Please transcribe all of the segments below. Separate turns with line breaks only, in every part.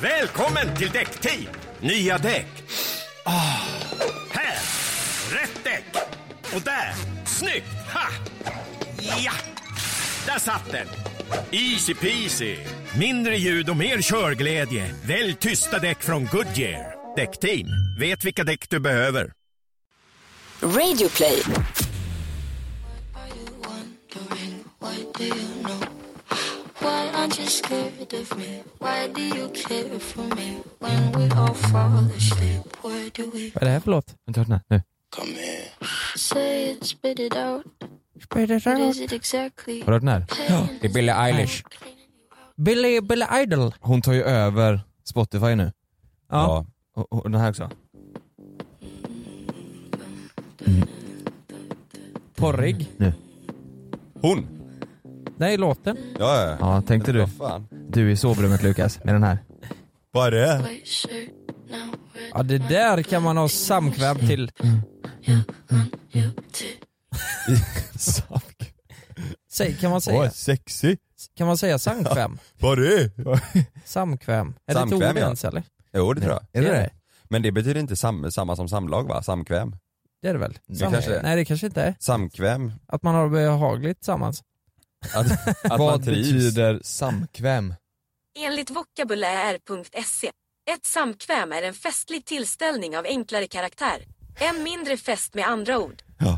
Välkommen till Däckteam! Nya däck. Ah. Här! Rätt däck! Och där! Snyggt! Ha! Ja! Där satt den! Easy peasy! Mindre ljud och mer körglädje. Välj tysta däck från Goodyear. Däckteam. Vet vilka däck du behöver.
Radioplay.
Are you wondering what do you know? Why aren't you scared of me? Why do you care for me? When we all fall asleep, where do we
Vad är det här för låt?
Har du hört den här? Nu.
say it, spit it out? What is it exactly?
Har du hört den här?
Pain
Det är Billie Eilish. Billie, Billie Idol.
Hon tar ju över Spotify nu.
Ja.
Och, och den här också.
Mm. Porrig.
Hon?
Nej, låten.
Ja, ja.
Ja, tänkte du.
Vad fan?
Du i sovrummet Lukas, med den här.
Vad är det?
white shirt, now red
Ja, det där kan man ha samkväm till.
you too.
Sak.
Säg, kan man
Oj,
säga?
sexy.
Kan man säga samkväm?
Vad är det?
Samkväm. Är det ett
Samkväm,
ord
ja.
ens eller?
Jo, det tror jag.
Är det det?
Men det betyder inte sam, samma som samlag va? Samkväm?
Det är det väl?
Det kanske det är.
Nej, det kanske inte är.
Samkväm?
Att man har det behagligt tillsammans.
Att, att man
Vad
trivs.
betyder samkväm?
Enligt vokabulär.se. Ett samkväm är en festlig tillställning av enklare karaktär. En mindre fest med andra ord.
Jaha.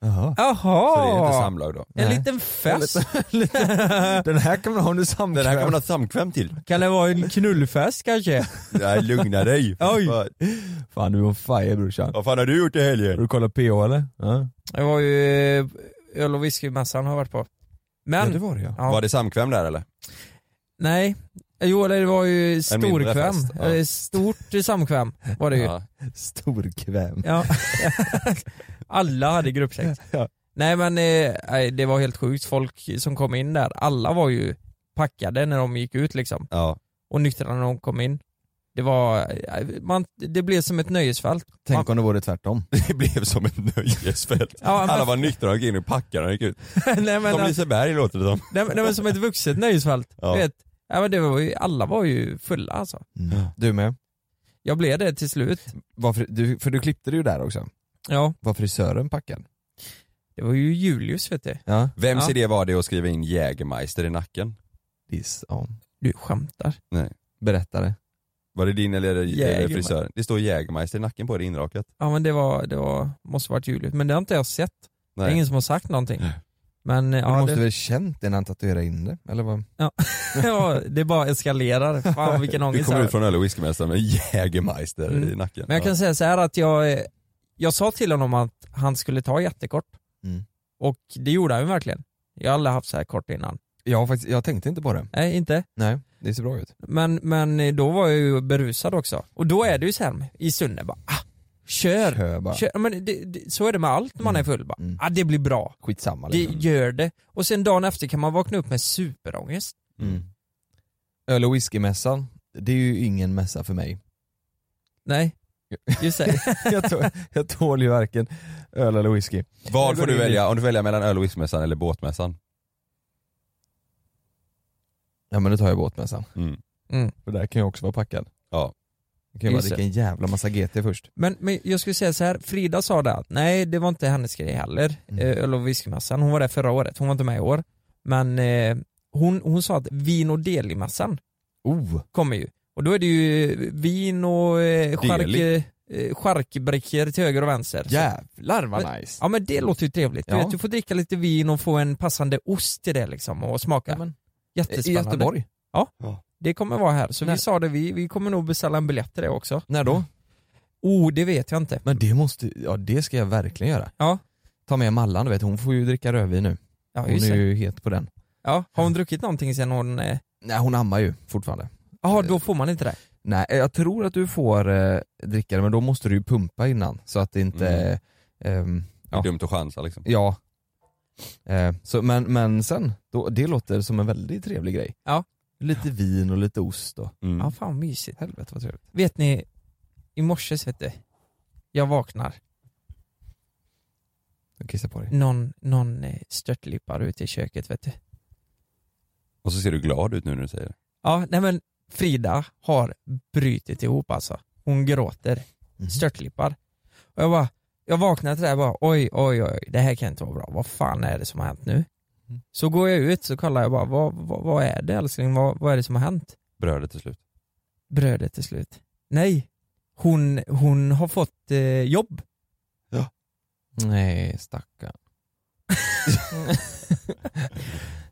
Så det är inte
Jaha!
samlag då?
En
Nej.
liten fest.
Den här kan man ha under samkväm.
Den här kan man ha ett samkväm till.
Kan det vara en knullfest kanske?
Nej, lugna dig.
Oj.
Vad,
Fan du är on fire brorsan.
vad fan har du gjort i
Har
helgen?
du kollat PH eller? Ja.
Det var ju eh, öl och whiskymässan har jag varit på. Men,
ja det var det ja.
Ja.
Var det samkväm där eller?
nej. Jo eller det var ju storkväm.
fest, ja.
Eller Stort samkväm var det ju. Ja.
Ja.
Storkväm.
Alla hade gruppsex.
Ja.
Nej men eh, nej, det var helt sjukt, folk som kom in där, alla var ju packade när de gick ut liksom.
Ja.
Och nyktra när de kom in. Det var, eh, man, det blev som ett nöjesfält.
Tänk om det vore tvärtom.
Det blev som ett nöjesfält.
Ja, men-
Alla var nyktra och gick in och packade och gick ut.
nej, men,
Som
alltså-
Liseberg låter det som.
Nej, men, nej, men som ett vuxet nöjesfält.
Ja.
Du vet, ja, men det var ju, alla var ju fulla alltså.
Mm. Du med.
Jag blev det till slut.
Varför, du, för du klippte dig ju där också.
Ja,
Var frisören packad?
det var ju Julius vet du.
Ja.
Vems
Ja.
idé var det att skriva in Jägermeister i nacken?
This on.
Du skämtar.
Berättade.
Var det din eller, eller
Jägermeister.
frisören? Det står Jägermeister i nacken på det inrakat.
Ja men det var, det var, måste varit Julius. Men det har inte jag sett. Det är ingen som har sagt någonting. Men eh,
Men du
ja,
måste
det,
väl känt det när han tatuerade in det? Eller vad?
ja, det bara eskalerar. Fan vilken
Du
ångest jag
kommer
har.
ut från öl och whiskymästaren med Jägermeister
Mm.
i nacken.
Men jag kan säga så här att jag, eh, jag sa till honom att han skulle ta jättekort.
Mm.
Och det gjorde han ju verkligen. Jag har aldrig haft så här kort innan.
Jag, har faktiskt, jag tänkte inte på det.
Nej, inte.
Nej, det ser bra ut.
Men, men eh, då var jag ju berusad också. Och då är det ju så här i stunden bara, ah, kör!
Kör bara.
kör. Ja, Men det, det, så är det med allt när man är full bara,
Mm.
ah, det blir bra.
Skitsamma
Det
liksom.
gör det. Och sen dagen efter kan man vakna upp med superångest.
Mm. Öl och whiskymässan, det är ju ingen mässa för mig.
Nej, just det.
jag, tål, jag tål ju varken öl eller whisky.
Vad
Jag
får
går
du
in i-
välja? Om du väljer mellan öl och whiskymässan eller båtmässan?
Ja men då tar jag båtmässan.
Mm.
Mm.
För där kan jag också vara packad.
Ja.
Jag kan ju bara
Just
dricka en jävla massa GT först.
Men, men jag skulle säga så här, Frida sa det att nej det var inte hennes grej heller,
Mm.
eh, öl och whiskymässan. Hon var där förra året, hon var inte med i år. Men eh, hon, hon sa att vin och delimässan
Oh!
kommer ju. Och då är det ju vin och eh,
Deli.
chark, eh, charkbrickor till höger och vänster. Så-
Jävlar vad
Men-
nice.
Ja men det låter ju trevligt. Du,
Ja.
vet, du får dricka lite vin och få en passande ost till det liksom och smaka.
Ja, men- I
Jättespännande.
Göteborg.
Det kommer vara här, så
Nej.
vi sa det, vi, vi kommer nog beställa en biljett till det också.
När då?
Oh, det vet jag inte.
Men det måste, ja det ska jag verkligen göra.
Ja.
Ta med Mallan du vet, hon får ju dricka rödvin nu.
Ja,
Hon
just
är
det.
ju het på den.
ja, har hon druckit någonting sen hon... eh,
Nej hon ammar ju fortfarande.
Jaha, då får man inte det.
Nej jag tror att du får eh, dricka det men då måste du ju pumpa innan så att det inte,
Mm.
ehm,
Det är dumt att chansa liksom.
ja. Eh, så, men, men sen, då, det låter som en väldigt trevlig grej.
Ja.
Lite vin och lite ost och
Mm.
Ja, fan mysigt.
helvete vad trevligt.
Vet ni, i morse vet du, jag vaknar,
Jag kissar på dig.
någon, någon eh, störtlippar ute i köket vet du.
Och så ser du glad ut nu när du säger det.
Ja, nej men Frida har brutit ihop alltså. Hon gråter,
Mhm.
störtlippar. Och jag bara, jag vaknade till det här och bara oj, oj, oj, det här kan inte vara bra. Vad fan är det som har hänt nu?
Mm.
Så går jag ut så kollar jag bara, vad, vad, vad är det älskling? Vad, vad är det som har hänt?
Brödet till slut.
Brödet till slut. Nej, hon, hon har fått eh, jobb.
Nej stackarn.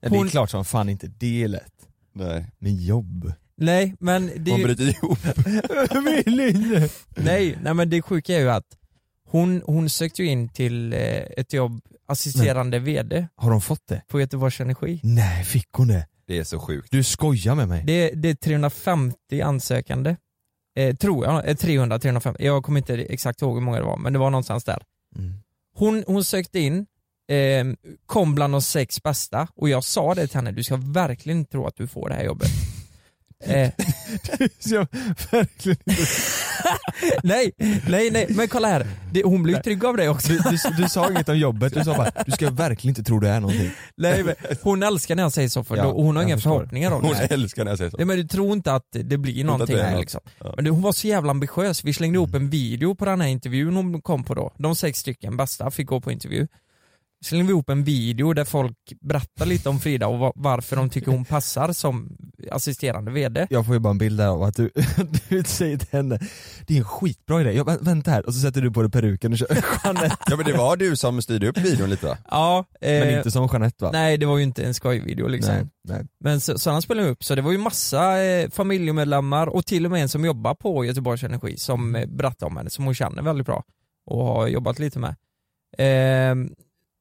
Det är
Hon-
klart som fan inte det är lätt.
Nej.
Men jobb.
Nej, men det är
Hon
ju...
bryter ihop.
Nej, nej men det sjuka är ju att hon, hon sökte ju in till eh, ett jobb, assisterande VD
Har de fått det?
på Göteborgs Energi.
Nej, fick hon det?
Det är så sjukt.
Du skojar med mig?
Det, det är 350 ansökande. Eh, tror jag, eh, 300, 350. Jag kommer inte exakt ihåg hur många det var, men det var någonstans där.
Mm.
Hon, hon sökte in, eh, kom bland de sex bästa och jag sa det till henne, du ska verkligen inte tro att du får det här jobbet. Eh,
jag verkligen
nej, nej, nej, men kolla här. Det, hon blev ju trygg av det också.
du, du, du sa inget om jobbet, du sa bara du ska verkligen inte tro det är någonting.
Nej, men hon älskar när jag säger så för
Ja,
då, och hon har
jag
inga
förstår.
förhoppningar om
Hon
det. här.
älskar när jag säger så.
Nej men du tror inte att det blir någonting
det är
här
något.
liksom.
Ja.
Men du, hon var så jävla ambitiös. Vi slängde
Mm.
ihop en video på den här intervjun hon kom på då. De sex stycken bästa fick gå på intervju. Slängde vi ihop en video där folk berättar lite om Frida och va- varför de tycker hon passar som assisterande VD.
Jag får ju bara en bild där av att du, du säger till henne, det är en skitbra idé, jag, bara, vänta här, och så sätter du på dig peruken och kör Jeanette.
Ja men det var du som styrde upp videon lite va?
Ja, eh,
Men inte som Jeanette va?
nej det var ju inte en skojvideo liksom.
nej, nej.
Men så, så han spelade upp, så det var ju massa eh, familjemedlemmar och till och med en som jobbar på Göteborgs Energi som eh, berättade om henne, som hon känner väldigt bra och har jobbat lite med. Ehm,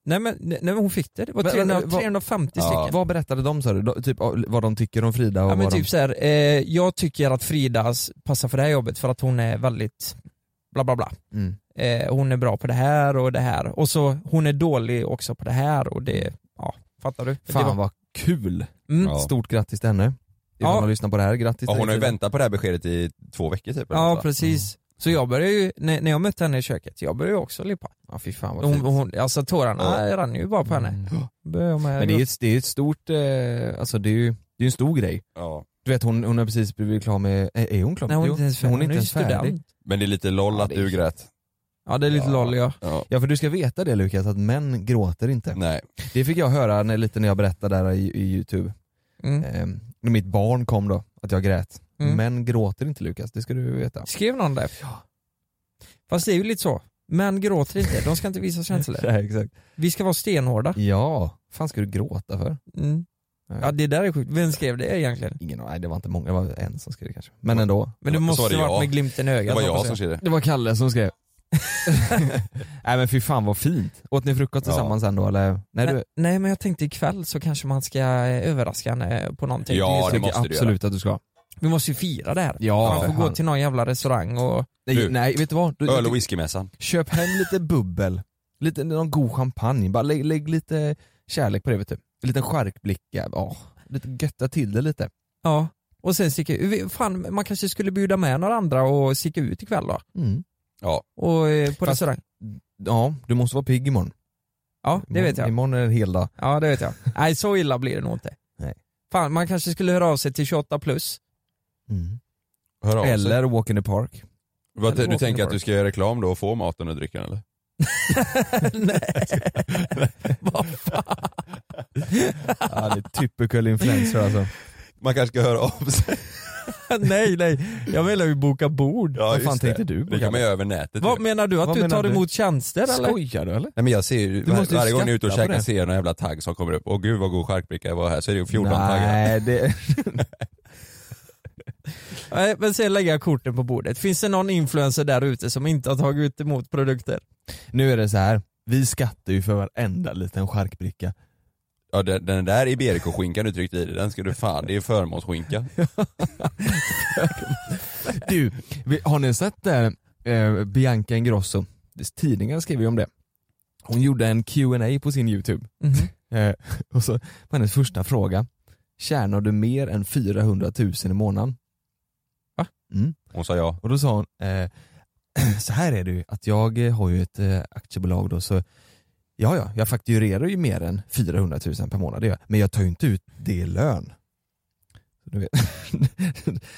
nej, men, nej men hon fick det, det var
Men,
300,
men, vad-
350
Ja.
stycken.
Vad berättade de sa du? De- Typ av- vad de tycker om Frida och
Ja men
vad
typ
de...
så här, eh, jag tycker att Frida s- passar för det här jobbet för att hon är väldigt bla bla bla.
Mm.
Eh, hon är bra på det här och det här och så hon är dålig också på det här och det, ja fattar du?
Fan
det var,
vad kul!
mm,
Ja.
Stort grattis till henne. Ifall
Ja.
hon lyssnar på det här, grattis
Ja,
till
hon har ju
Frida.
väntat på det här beskedet i två veckor typ. eller
Ja
något, va?
precis.
Mm.
Så jag började ju, när, när jag mötte henne i köket, jag började ju också lippa.
Ja fy fan vad
Hon,
fint.
hon, alltså tårarna rann ju bara på henne.
Mm.
Började med-
Men det är ju ett, det är ett stort, eh, alltså det är ju det är en stor grej.
Ja.
Du vet hon, hon har precis blivit klar med, är är hon klar?
Nej, hon är
Jo,
inte ens
men
färdig. Hon är ju
färdig.
student.
Men det är lite loll
Ja,
att
det är-
du grät.
Ja det är lite
Ja.
loll ja.
Ja.
Ja för du ska veta det Lukas, att män gråter inte.
Nej.
Det fick jag höra när, lite när jag berättade där i, i youtube.
Mm.
Eh, när mitt barn kom då, att jag grät.
Mm.
Män gråter inte Lukas, det ska du veta.
Skrev någon det? Fast det är ju lite så. Män gråter inte, de ska inte visa känslor.
Nej, exakt.
Vi ska vara stenhårda.
Ja, fan ska du gråta för?
Mm. Ja det där är sjukt, vem skrev det egentligen?
Ingen aning, nej det var inte många, det var en som skrev kanske. Men ändå.
Men det
Så
måste
var det
ju varit
jag.
med glimten i
Det
ögat
var jag
hoppas
som skrev det.
Det var Kalle som skrev. nej men fy fan vad fint. Åt ni frukost
Ja.
tillsammans sen då eller? Nej, du,
Nej, nej men jag tänkte ikväll så kanske man ska eh, överraska henne på någonting.
Ja, det
tycker
måste
jag
du
absolut att du ska.
Vi måste ju fira det här.
Ja,
man
för
får gå
fan.
till någon jävla restaurang och...
Nej,
Du.
nej vet du vad? Du,
Öl och
du,
whiskymässan.
köp hem lite bubbel, lite, någon god champagne, bara lägg, lägg lite kärlek på det vet du. En liten charkblicka, ja. Lite götta till det lite.
Ja, och sen sticka vi- Fan, man kanske skulle bjuda med några andra och sticka ut ikväll då?
Mm.
Och, eh, på
Fast-
restaurang?
Ja, du måste vara pigg imorgon.
Ja, det vet jag.
Imorgon är det en hel dag.
Ja, det vet jag. Nej, så illa blir det nog inte.
Nej.
Fan, man kanske skulle höra av sig till 28 plus.
Hör av sig.
Eller walk in the park.
Vad-
eller
Du
walk in the
tänker att du
park.
ska göra reklam då och få maten och drycken eller?
Nej, vad fan.
Ja, det är typical influencer alltså.
Man kanske ska höra av sig.
nej nej, jag menar ju boka bord.
Ja,
Vad fan
just det.
tänkte du på,
Det kan man
Kalle?
ju över nätet.
Vad
ju.
menar du? Att
Vad
du
menar
tar
du?
emot tjänster eller?
Skojar du eller?
Nej men jag ser ju,
Du måste ju
varje gång jag är ute och
skatta på
käkar
det.
ser jag någon jävla tagg som kommer upp. Åh gud vad god charkbricka jag var här. Så är det ju 14 taggar.
Nej, det...
Nej, men sen lägger jag korten på bordet. Finns det någon influencer där ute som inte har tagit emot produkter?
Nu är det så här. vi skattar ju för varenda liten charkbricka.
Ja, den, den där Iberico-skinkan du tryckte i dig, den ska du fan, det är förmånsskinka.
Du, vi- har ni sett där eh, Bianca Ingrosso? Tidningen skrev ju om det. Hon gjorde en Q&A på sin youtube.
Mhm.
Eh, och så på hennes första fråga, tjänar du mer än 400 000 i månaden? Va? Mm.
Hon sa ja.
Och då sa hon, eh, så här är det ju, att jag eh, har ju ett eh, aktiebolag då så ja ja, jag fakturerar ju mer än 400 000 per månad, det gör jag. men jag tar ju inte ut det i lön. Så nu, vet,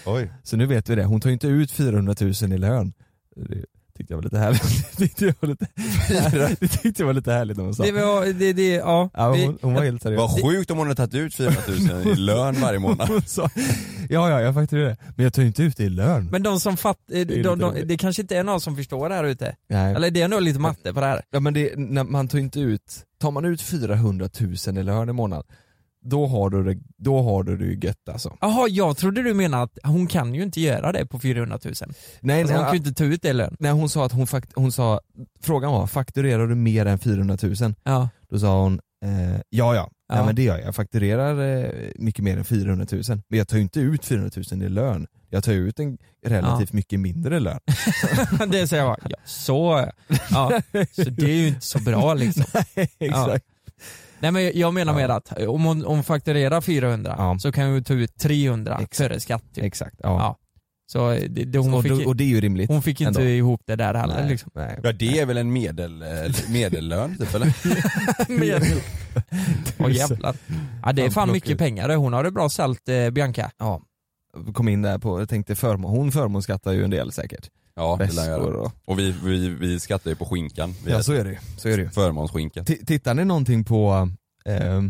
Oj.
så nu vet vi det, hon tar ju inte ut 400 000 i lön. Det tyckte jag var lite härligt. Det tyckte jag var lite, det tyckte jag var lite härligt när hon sa.
Det, var, det, det, ja.
Ja,
Vi-
hon, hon var helt seriös.
Vad sjukt om hon hade tagit ut 400 000 i lön varje månad.
Hon sa, ja ja, jag fakturerar det, men jag tar ju inte ut det i lön.
Men de som fattar,
ju
de, de,
lite roligt.
det kanske inte är någon som förstår det här ute.
Nej.
Eller det är nog lite matte på det här.
Ja men det, när man tar inte ut, tar man ut 400 000 i lön i månaden, då har du det, då har du det ju gött alltså.
Jaha, jag trodde du menade att hon kan ju inte göra det på 400 000.
Nej,
Alltså, hon kan ju
nej,
inte ta ut det i lön.
nej hon sa att hon, fakt, hon sa, frågan var fakturerar du mer än 400 000?
Ja.
Då sa hon eh, ja ja,
Ja.
Nej, men det gör jag, jag fakturerar eh, mycket mer än 400 000 men jag tar ju inte ut 400 000 i lön, jag tar ju ut en relativt mycket mindre lön.
det säger jag bara, ja, så, ja. så det är ju inte så bra liksom.
Exakt.
Nej men jag menar
Ja.
mer att om hon, om hon fakturerar 400
Ja.
så kan hon ju ta ut 300
Exakt.
före skatt. Typ.
Exakt, ja.
Ja. Så eh, det, det, hon,
Och,
fick,
då, och det är ju rimligt.
hon fick inte
ändå.
ihop det där heller
Nej,
liksom.
nej.
Ja det är väl en medel, eh, medellön typ eller?
Medel. Åh jävlar. Ja det är fan mycket pengar det. hon har det bra sält eh, Bianca.
ja, kom in där på, jag tänkte förmån, hon förmånsskattar ju en del säkert.
Ja det lär jag
Väskor
göra.
och...
Och vi, vi, vi skattar ju på skinkan. Vi
Ja så är det ju. Så är det ju.
äter förmånsskinka.
T- tittar ni någonting på eh,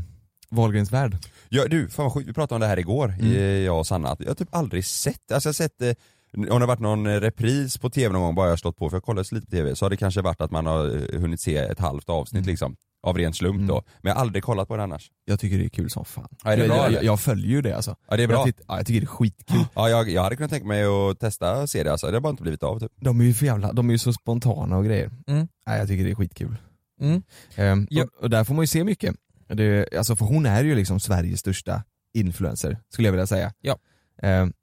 Wahlgrens värld?
Ja, du, fan vad sjukt, vi pratade om det här igår,
Mm.
eh, jag och Sanna, att jag har typ aldrig sett, alltså jag har sett, eh, om det har varit någon eh, repris på tv någon gång bara jag har slått på, för jag kollar så lite på tv, så har det kanske varit att man har eh, hunnit se ett halvt avsnitt
Mm.
liksom, av ren slump
Mm.
då. Men jag har aldrig kollat på det annars.
Jag tycker det är kul som fan.
Ja, är det bra,
jag, jag,
eller?
jag följer ju det alltså.
Ja det är bra.
Jag, titt, ja, jag tycker det är skitkul.
Ja, jag, jag hade kunnat tänka mig att testa serier alltså, det har bara inte blivit av typ.
De är ju för jävla, de är ju så spontana och grejer.
Mm.
Ja, jag tycker det är skitkul.
Mm.
Ehm,
Ja.
och, och där får man ju se mycket. Det, alltså för hon är ju liksom Sveriges största influencer, skulle jag vilja säga.
Ja.
Ehm,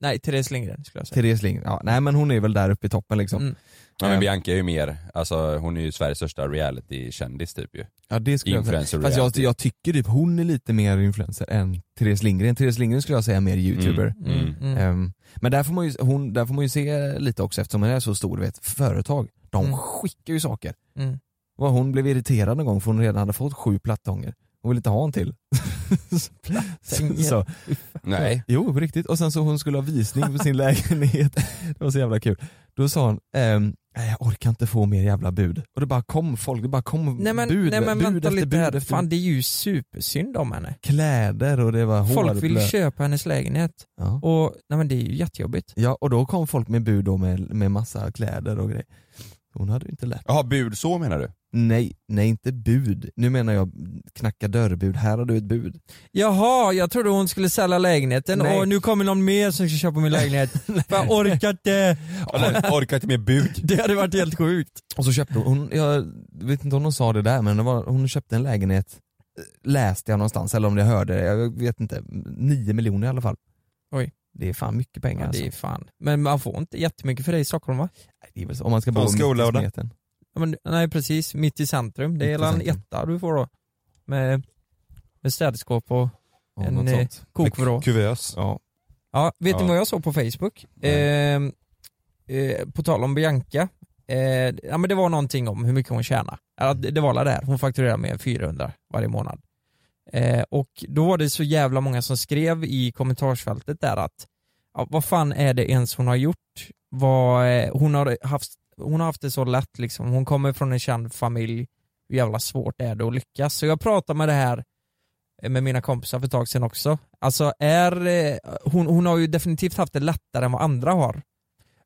Nej Therese Lindgren skulle jag säga.
Therese Lind, ja, nej men hon är väl där uppe i toppen liksom.
Mm.
Ja, men
Ehm,
Bianca är ju mer, alltså hon är ju Sveriges största reality-kändis typ ju.
Ja det skulle jag säga.
Influencer
Fast jag,
reality.
jag tycker typ hon är lite mer influencer än Therese Lindgren. Therese Lindgren skulle jag säga är mer youtuber.
Mm. Mm.
Mm.
Ehm, men där får, man ju, hon, där får man ju se lite också eftersom hon är så stor, du vet, företag. De
Mm.
skickar ju saker.
Mm.
Vad hon blev irriterad någon gång för hon redan hade fått sju plattånger. Hon ville inte ha en till. så, så,
Nej.
jo, på riktigt. Och sen så hon skulle ha visning på sin lägenhet. Det var så jävla kul. Då sa hon, ehm, "Nej, jag orkar inte få mer jävla bud. Och det bara kom folk, det bara kom
Nej men,
bud,
nej, men
bud
vänta
efter
lite
bud
här,
efter
fan det är ju supersynd om henne.
kläder och det var
Folk vill
hårblöt.
köpa hennes lägenhet
Ja.
och nej men det är ju jättejobbigt.
ja, och då kom folk med bud då med, med massa kläder och grejer. Hon hade ju inte lärt
Jaha, bud så menar du?
Nej, nej inte bud. Nu menar jag knacka dörrbud. Här har du ett bud.
Jaha, jag trodde hon skulle sälja lägenheten
Nej.
och nu kommer någon mer som ska köpa min lägenhet. För jag orkar inte.
Eller, orkar inte med bud?
Det hade varit helt sjukt.
Och så köpte hon, hon jag vet inte om hon sa det där men det var, hon köpte en lägenhet, eh, läste jag någonstans eller om jag hörde det, jag vet inte. Nio miljoner i alla fall.
Oj.
Det är fan mycket pengar
Ja, det är
alltså.
fan. Men man får inte jättemycket för det i Stockholm va?
Nej, det är väl så. Om man ska bo
Från
mitt i
skolådan.
smeten.
Ja, men, nej precis, mitt i centrum. Det är
Mitt i
hela en
centrum.
etta du får då. Med, med städskåp och
Ja,
En,
något
eh,
sånt.
kokvrå.
Kuvös.
Ja.
Ja, vet ni
Ja.
vad jag såg på Facebook? Ehm, eh, på tal om Bianca, eh, ja, men det var någonting om hur mycket hon tjänar. Ja, det, det var alla där, hon fakturerar mer än 400 varje månad. Eh, och då var det så jävla många som skrev i kommentarsfältet där att ja, vad fan är det ens hon har gjort? Vad, eh, hon, har haft, hon har haft det så lätt liksom, hon kommer från en känd familj, hur jävla svårt är det att lyckas? Så jag pratade med det här
eh, med mina kompisar för ett tag sedan också. Alltså är, eh, hon, hon har ju definitivt haft det lättare än vad andra har.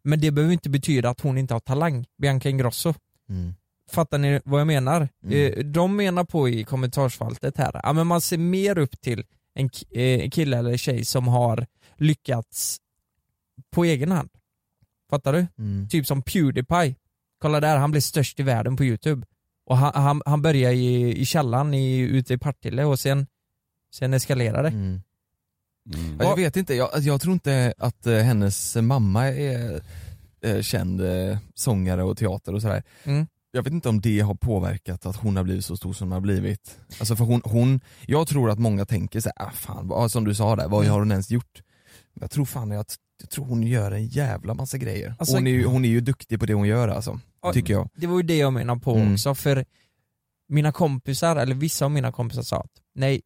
Men det behöver inte betyda att hon inte har talang, Bianca Ingrosso.
Mm.
Fattar ni vad jag menar?
Mm.
Eh, De menar på i kommentarsfältet här, ja, men man ser mer upp till en k- eh, kille eller tjej som har lyckats på egen hand. Fattar du?
Mm.
Typ som Pewdiepie. Kolla där, han blev störst i världen på YouTube. Och han, han, han började i, i källaren i, ute i Partille och sen, sen eskalerade det.
Mm.
Mm.
Ja, jag vet inte, jag, alltså, jag tror inte att eh, hennes mamma är eh, känd eh, sångare och teater och sådär.
Mm.
Jag vet inte om det har påverkat att hon har blivit så stor som hon har blivit. Alltså för hon, hon jag tror att många tänker så här, ah, fan, vad, som du sa där, vad
Mm.
har hon ens gjort? Jag tror fan att jag tror hon gör en jävla massa grejer.
Alltså-
hon, är ju, hon är ju duktig på det hon gör alltså,
Ja.
tycker jag.
Det var ju det jag menade på
Mm.
också, för mina kompisar, eller vissa av mina kompisar sa att nej,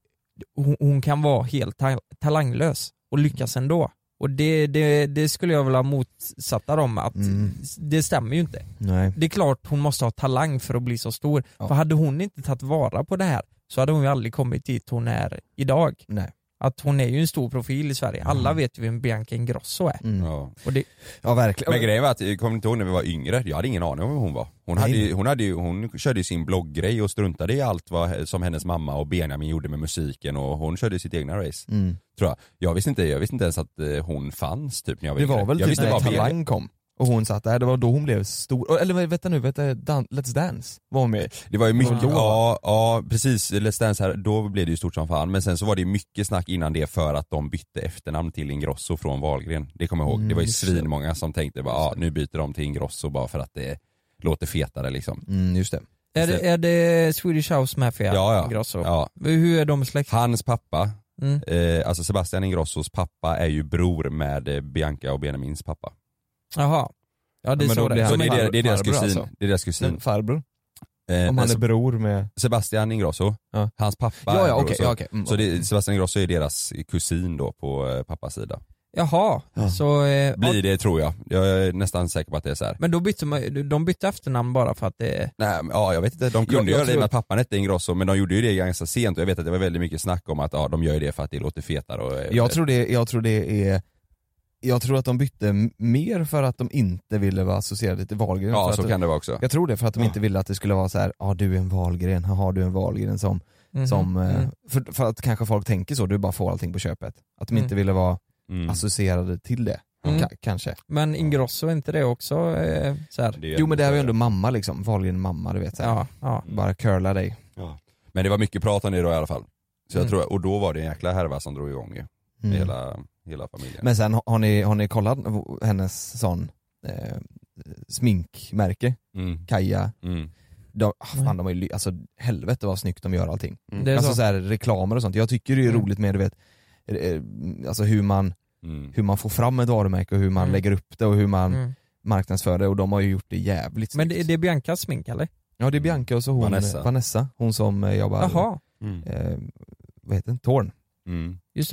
hon, hon kan vara helt ta- talanglös och
Mm.
lyckas ändå. Och det, det, det skulle jag vilja motsätta dem, att
Mm.
det stämmer ju inte.
Nej.
Det är klart hon måste ha talang för att bli så stor,
Ja.
för hade hon inte tagit vara på det här så hade hon ju aldrig kommit dit hon är idag.
Nej.
Att hon är ju en stor profil i Sverige,
Mm.
alla vet ju vem Bianca Ingrosso är.
Mm.
Ja.
Och det,
Ja verkligen.
Men grejen var att, jag kommer inte ihåg när vi var yngre, jag hade ingen aning om vem hon var. Hon, hade, ju- hon, hade, ju- hon körde ju sin blogggrej och struntade i allt vad, som hennes mamma och Benjamin gjorde med musiken och hon körde sitt egna race.
mm.
Tror jag. Jag, visste inte, jag visste inte ens att eh, hon fanns typ när jag var
Det
yngre.
var väl
jag
typ
visste
när
bara Benjamin-
Talang kom och hon satt där, det var då hon blev stor. Eller vad- vänta nu, vänta, Dan- Let's Dance var hon med i.
Det var ju mycket,
Då, va?
ja, ja precis, Let's Dance här, då blev det ju stort som fan. Men sen så var det ju mycket snack innan det för att de bytte efternamn till Ingrosso från Wahlgren. Det kommer jag ihåg,
Mm,
det var ju
just det.
svinmånga som tänkte bara, ja, nu byter de till Ingrosso bara för att det låter fetare liksom.
Mm, just det.
är, det, är det Swedish House Mafia
Ja, ja.
Ingrosso?
Ja.
Hur är de släkt?
Hans pappa,
Mm.
eh, alltså Sebastian Ingrossos pappa är ju bror med eh, Bianca och Benjamins pappa.
Jaha. Ja det är
men
så
då
det
blir
är.
han-
Så det
Som
är,
en-
deras- det är deras
farbror
kusin.
alltså.
Det är deras kusin.
Men farbror,
Eh,
om han
men
är bror med...
Sebastian Ingrosso,
Ja.
hans pappa
Ja,
är
ja
bror,
okej.
så-
ja, okej. Mm,
Så
okej.
det, Sebastian Ingrosso är deras kusin då på eh, pappas sida.
Jaha,
Ja.
så... Eh, ja,
Blir det tror jag. Jag är nästan säker på att det är så här.
men då bytte man, de bytte efternamn bara för att det...
Nej, men, ja, jag vet inte. De
Jag-
kunde
jag
göra det i och
tror-
med att pappan hette Ingrosso men de gjorde ju det ganska sent och jag vet att det var väldigt mycket snack om att ja, de gör ju det för att det låter fetare och... eh,
jag, tror det, jag tror det är... Jag tror att de bytte m- mer för att de inte ville vara associerade till Wahlgren.
Ja,
för
så
att,
kan det vara också.
Jag tror det, för att de
Ja.
inte ville att det skulle vara så här, ja ah, du är en Wahlgren, haha du är en Wahlgren som...
Mhm.
som eh,
Mm.
för, för att kanske folk tänker så, du bara får allting på köpet. Att de inte
Mm.
ville vara
Mm.
associerade till det,
Mm.
ka- kanske.
Men Ingrosso, är inte det också eh, så här?
är ju
Jo men det här är ju
så,
ändå mamma liksom, Wahlgren mamma du vet så här.
Ja, ja.
Bara curla dig.
ja. Men det var mycket prat om det då i alla fall. Så jag
Mm.
tror, och då var det en jäkla härva som drog igång ju.
Mm.
Hela, hela familjen.
Men sen har- har ni, har ni kollat hennes sån eh, sminkmärke,
Mm.
Kaja?
Mm.
De, ah, fan, de har ju, ly- alltså helvete vad snyggt de gör allting.
Det är
alltså
så.
så här, reklamer och sånt. Jag tycker det är
Mm.
roligt med du vet, eh, alltså hur man,
Mm.
hur man får fram ett varumärke och hur man
Mm.
lägger upp det och hur man
Mm.
marknadsför det och de har ju gjort det jävligt
Men det,
snyggt.
det är Biancas smink eller?
Ja det är Bianca och så hon,
Vanessa.
Vanessa, hon som eh, jobbar,
Jaha,
Mm.
Eh, vad heter den, Torn.
Mm.
just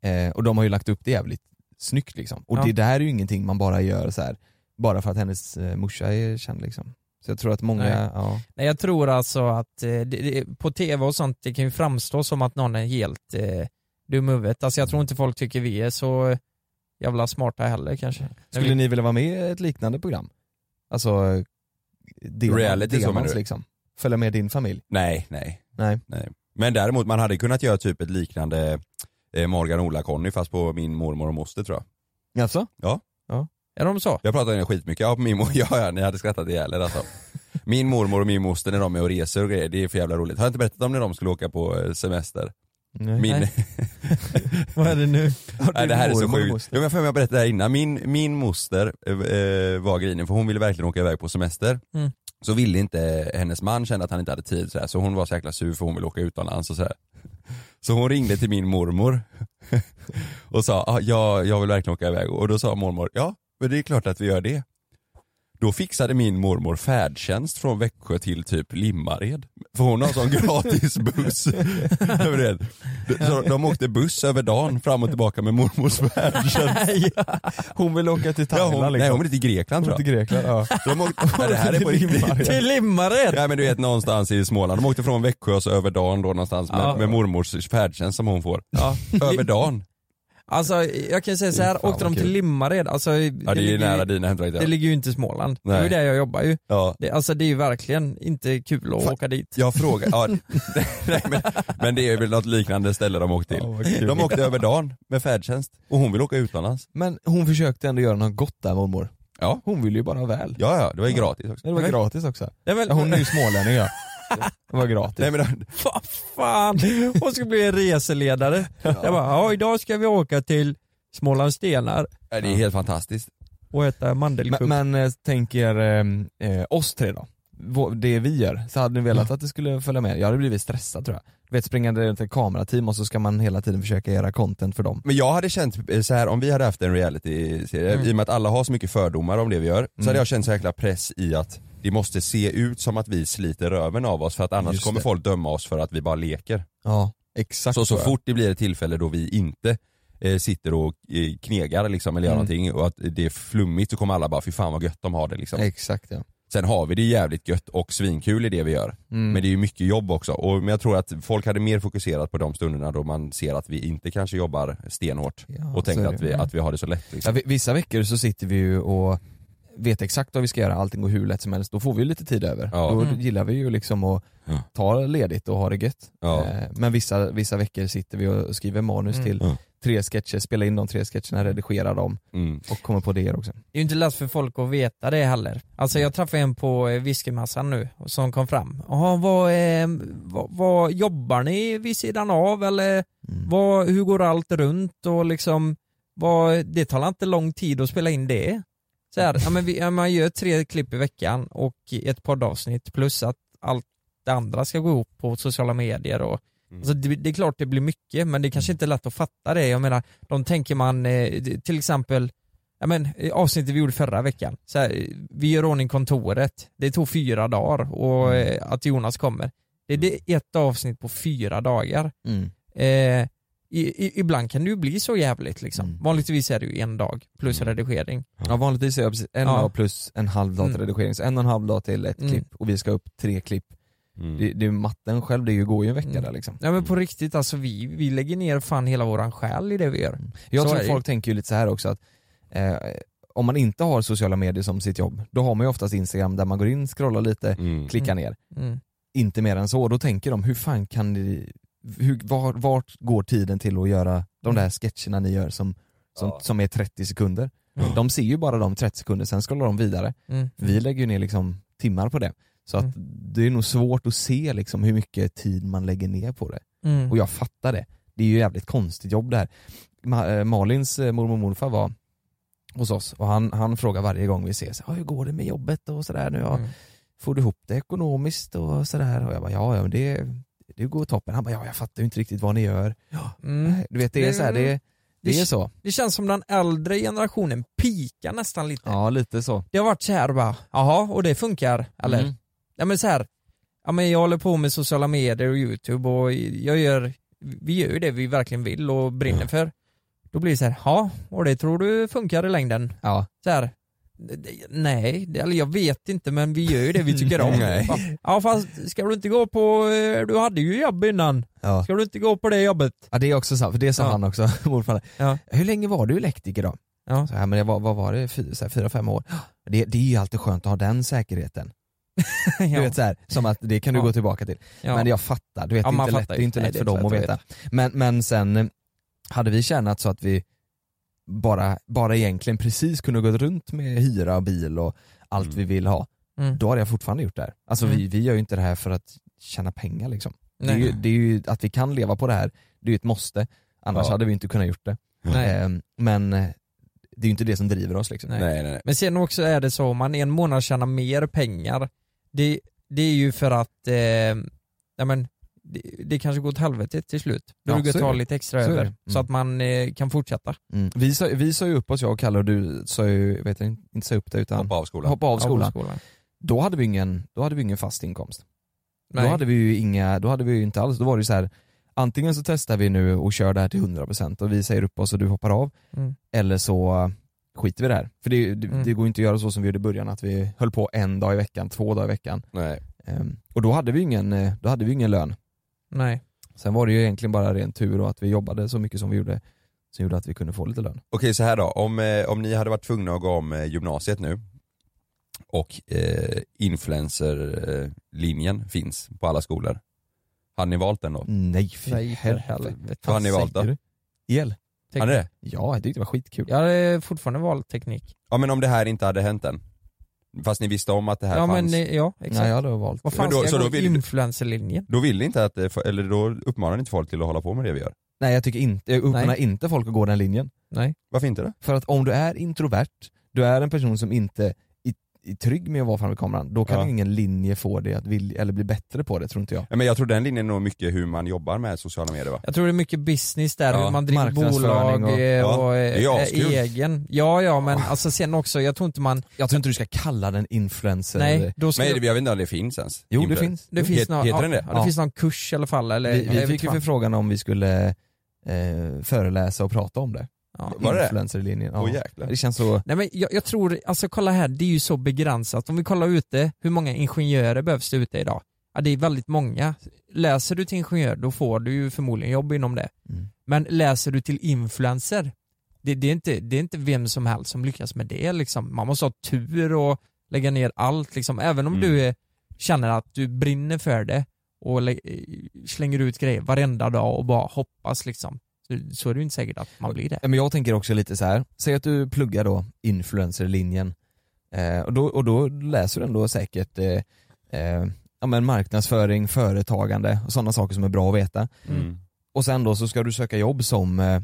det.
Eh, och de har ju lagt upp det jävligt snyggt liksom. Och
Ja.
det där är ju ingenting man bara gör så här bara för att hennes eh, morsa är känd liksom. Så jag tror att många,
Nej.
ja.
Nej, jag tror alltså att eh, det, det, på tv och sånt, det kan ju framstå som att någon är helt eh, dum i huvudet. Alltså jag tror inte folk tycker vi är så jävla smarta heller kanske.
Skulle ni vilja vara med i ett liknande program? Alltså, eh, Demon-
Reality, så
Demons,
menar du?
liksom. Följa med din familj?
Nej, nej.
Nej.
Men däremot, man hade kunnat göra typ ett liknande eh, Morgan och Ola-Conny fast på min mormor och moster tror jag.
Alltså?
Är de så?
Jag pratar ju skitmycket, ja, på min mor- ja, ja ni hade skrattat ihjäl er alltså. Min mormor och min moster när de är och reser och grejer, det är för jävla roligt. Har jag inte berättat om när de skulle åka på eh, semester?
Nej.
Min...
Nej. Vad är det nu?
Nej, det här är så
Mormor och
sjukt.
moster.
Jo, men för mig jag berättade det här innan. Min, min moster eh, eh, var grinig för hon ville verkligen åka iväg på semester.
Mm.
Så ville inte hennes man känna att han inte hade tid sådär. så hon var så jäkla sur för hon ville åka utomlands och sådär. Så hon ringde till min mormor och sa ah, ja, jag vill verkligen åka iväg och då sa mormor ja men det är klart att vi gör det. Då fixade min mormor färdtjänst från Växjö till typ Limmared. För hon har sån gratis buss. över det. De- Så de åkte buss över dagen fram och tillbaka med mormors färdtjänst.
ja.
Hon vill åka till
Ja,
Thailand
hon, nej
liksom.
hon är till Grekland tror
till
jag.
Grekland, ja.
De åkte, nej, det här är på riktigt.
Till Limmared!
Ja men du vet någonstans i Småland, de åkte från Växjö och så över dagen då någonstans med,
Ja.
med mormors färdtjänst som hon får.
Ja.
Över dagen.
Alltså jag kan ju säga så
Fy
här,
fan,
åkte
vad
de till
kul.
Limmared, alltså det,
Ja det är ju
ligger,
nära
ju-
dina
det
hemtrakter.
ligger ju inte i Småland. Det är
Nej.
ju där jag jobbar ju.
Ja.
Det, alltså det är ju verkligen inte kul att
Fan.
åka dit.
Jag frågar, ja, nej, men, men det är väl något liknande ställe de åkte
Ja,
till.
vad kul.
De åkte över dagen med färdtjänst och hon vill åka utomlands.
Men hon försökte ändå göra något gott där mormor.
Ja.
Hon ville ju bara väl.
Ja ja, det var ju gratis också.
Det var gratis också.
Nej, men,
Ja, Hon är ju smålänning ja. Det var gratis.
Nej, men, de-
Vad fan, hon ska bli en reseledare. Jag bara, ja idag ska vi åka till Smålands stenar
nej, det är helt fantastiskt.
och äta mandelkubb.
men, men eh, tänk er eh, eh, oss tre då. Vå- Det vi gör. Så hade ni velat
Mm.
att det skulle följa med? Jag hade blivit stressad tror jag. Du vet springa runt ett kamerateam och så ska man hela tiden försöka göra content för dem.
Men jag hade känt eh, så här om vi hade haft en realityserie,
Mm.
i och med att alla har så mycket fördomar om det vi gör, så hade jag känt så jäkla press i att det måste se ut som att vi sliter röven av oss för att annars
Just
kommer
det.
folk döma oss för att vi bara leker.
Ja, exakt
Så, så
tror jag.
fort det blir ett tillfälle då vi inte eh, sitter och eh, knegar liksom, eller gör
Mm.
någonting och att det är flummigt så kommer alla bara fy fan vad gött de har det liksom.
Exakt ja.
Sen har vi det jävligt gött och svinkul i det vi gör.
Mm.
Men det är ju mycket jobb också. Och, men jag tror att folk hade mer fokuserat på de stunderna då man ser att vi inte kanske jobbar stenhårt
Ja,
och
så
tänkt
är det.
att vi, att vi har det så lätt.
Ja,
Liksom.
vi- vissa veckor så sitter vi ju och vet exakt vad vi ska göra, allting går hur lätt som helst. Då får vi ju lite tid över.
Ja.
Då
Mm.
gillar vi ju liksom att
Ja.
ta ledigt och ha det gött.
Ja.
Eh, Men vissa, vissa veckor sitter vi och skriver manus
Mm.
till
Ja.
tre sketcher, spelar in de tre sketcherna, redigerar dem
Mm.
och kommer på det också.
Det är ju inte lätt för folk att veta det heller. Alltså jag träffade en på eh, whiskymassan nu som kom fram. Jaha, vad, eh, vad, vad jobbar ni vid sidan av eller
Mm.
vad, hur går allt runt och liksom vad, det tar inte lång tid att spela in det. Så här, ja, men vi, ja, man gör tre klipp i veckan och ett poddavsnitt plus att allt det andra ska gå ihop på sociala medier och
Mm.
Alltså det, det är klart det blir mycket men det kanske inte är lätt att fatta det. Jag menar, de tänker man eh, till exempel Ja, men, eh, avsnittet vi gjorde förra veckan. Så här, eh, vi gör ordning kontoret. Det tog fyra dagar och
Mm.
eh, att Jonas kommer. Det, det är ett avsnitt på fyra dagar.
Mm.
Eh, i, i, ibland kan det ju bli så jävligt liksom.
Mm.
Vanligtvis är det ju en dag plus redigering.
Ja, vanligtvis är jag precis en
Ja.
dag plus en halv dag till
Mm.
redigering, så en och en halv dag till ett
Mm.
klipp och vi ska upp tre klipp.
Mm.
Det, det är ju matten själv, det är ju- går ju en vecka
Mm.
där liksom.
Ja men på riktigt alltså vi, vi lägger ner fan hela våran själ i det vi gör.
Jag
Så är
tror
det ju.
folk tänker ju lite så här också att eh, om man inte har sociala medier som sitt jobb, då har man ju oftast Instagram där man går in, scrollar lite,
Mm.
klickar ner.
Mm.
Inte mer än så. Då tänker de, hur fan kan ni, hur, var, vart går tiden till att göra
Mm.
de där sketcherna ni gör som, som,
Ja.
som är 30 sekunder? De ser ju bara de 30 sekunder, sen scrollar de vidare.
Mm.
Vi lägger ju ner liksom timmar på det. Så att det är nog svårt att se liksom hur mycket tid man lägger ner på det.
Mm.
Och jag fattar det. Det är ju jävligt konstigt jobb det här. Ma- eh, Malins eh, mormor och morfar var hos oss och han, han frågar varje gång vi ses, "Ja, hur går det med jobbet och sådär nu? Ja,
Mm.
Får du ihop det ekonomiskt och sådär? Och jag bara, ja, ja men det, det går toppen. Han bara, ja jag fattar ju inte riktigt vad ni gör.
Mm.
Du vet det är så här, det, det är så.
Det känns som den äldre generationen pikar nästan lite.
Ja lite så.
Det har varit så här bara, jaha, och det funkar, eller?
Mm.
Ja men så här, ja men jag håller på med sociala medier och youtube och jag gör, vi gör ju det vi verkligen vill och brinner för. Då blir det så här, ja, och det tror du funkar i längden?
Ja.
Så här, "Det- nej, det- eller jag vet inte men vi gör ju det vi tycker om.
Nej.
Va? Ja fast ska du inte gå på, eh, du hade ju jobb innan,
Ja.
ska du inte gå på det jobbet?
ja det är också sant, för det sa
Ja.
han också, morfar.
Ja.
Hur länge var du elektriker då?
Ja.
Så här, men jag var, vad var det, Fy- så här, fyra, fem år? Det, det är ju alltid skönt att ha den säkerheten. Du vet så här, som att det kan du
Ja.
gå tillbaka till.
ja.
Men jag fattar, du vet
Ja,
det, är
man
inte lätt, det
fattar
är
ju.
inte
Nej,
lätt
det är
för
inte
dem att
lätt att
veta. Men, men sen eh, hade vi tjänat så att vi bara, bara egentligen precis kunde gått runt med hyra och bil och allt
Mm.
vi vill ha,
Mm.
då hade jag fortfarande gjort det här. Alltså vi,
Mm.
vi gör ju inte det här för att tjäna pengar liksom. Det är,
Nej.
ju, det är ju att vi kan leva på det här, det är ju ett måste. Annars
Ja.
hade vi inte kunnat gjort det.
Nej.
Eh, Men eh, det är ju inte det som driver oss liksom.
Nej.
Nej, nej, nej.
Men sen också är det så, om man en månad tjänar mer pengar, det, det är ju för att, eh, ja men, det, det kanske går åt helvete till slut. Då
Ja,
brukar
så
jag
är
ta
det.
lite extra
Så är
över,
det. Mm.
så att man eh, kan fortsätta.
Mm. Vi, sa, vi sa ju upp oss, jag och Kalle, och du sa ju, vet jag, inte sa upp dig utan
Hoppa av skolan.
hoppa av skolan.
Ja, på skolan.
Då hade vi ingen, då hade vi ingen fast inkomst.
Nej.
Då hade vi ju inga, då hade vi ju inte alls, då var det ju så här antingen så testar vi nu och kör det här till 100% och vi säger upp oss och du hoppar av,
Mm.
eller så skiter vi i det här. För det, det,
Mm.
det går ju inte att göra så som vi gjorde i början, att vi höll på en dag i veckan, två dagar i veckan.
Nej.
Ehm, och då hade vi ju ingen, eh, då hade vi ju ingen lön.
Nej.
Sen var det ju egentligen bara ren tur och att vi jobbade så mycket som vi gjorde, som gjorde att vi kunde få lite lön.
Okej så här då, om, eh, om ni hade varit tvungna att gå om eh, gymnasiet nu och eh, influencerlinjen finns på alla skolor. Hade ni valt den då?
Nej för
Nej, för helvete.
Vad har ni valt då?
säger du? El?
Hade ni det?
Ja, jag tyckte det var skitkul.
Jag hade fortfarande valt teknik.
Ja men om det här inte hade hänt än. Fast ni visste om att det här
Ja,
fanns.
men, eh, ja exakt.
Nej, jag hade valt
Vad fan
Men då-
ska
så
jag
då
gå
vill du-
influencerlinjen?
Då vill ni inte
eh,
att, det- eller då uppmanar ni inte folk till att hålla på med det vi gör.
Nej jag tycker inte, jag uppmanar inte folk att gå den linjen.
Nej.
Varför inte det?
För att om du är introvert, du är en person som inte är, är trygg med att vara framför kameran, då kan
Ja.
ingen linje få dig att vilja, eller bli bättre på det tror inte jag.
Ja, men jag tror den linjen är nog mycket hur man jobbar med sociala medier va?
Jag tror det är mycket business där,
Ja,
hur man driver bolag
marknadsföring
och,
och-
ja,
och, eh,
det är askul.
egen. Ja, ja, men alltså sen också, jag tror inte man...
Jag tror inte du ska kalla den influencer.
Nej, då ska
Men jag vet inte om det finns ens.
Jo det
Influ-
finns.
Det finns,
Het-
någon,
heter
ja,
den det?
Ja, det
Ja.
finns någon kurs i alla fall eller
Vi,
jag
vi
vet
fick ju
fan.
förfrågan om vi skulle eh, föreläsa och prata om det.
Ja.
Var det det?
Influencerlinjen.
Åh,
Ja.
jäklar.
det känns så,
Nej men jag, jag tror, alltså kolla här, det är ju så begränsat. Om vi kollar ute, hur många ingenjörer behövs det ute idag? Ja det är väldigt många. Läser du till ingenjör då får du ju förmodligen jobb inom det.
Mm.
Men läser du till influencer, det, det, är inte, det är inte vem som helst som lyckas med det liksom. Man måste ha tur och lägga ner allt liksom. Även om
Mm.
du är, känner att du brinner för det och lä- slänger ut grejer varenda dag och bara hoppas liksom. Så, så är det ju inte säkert att man blir det.
Ja, men jag tänker också lite så här. säg att du pluggar då influencerlinjen eh, och, då, och då läser du ändå säkert eh, eh, ja, men marknadsföring, företagande och sådana saker som är bra att veta.
Mm.
Och sen då så ska du söka jobb som eh,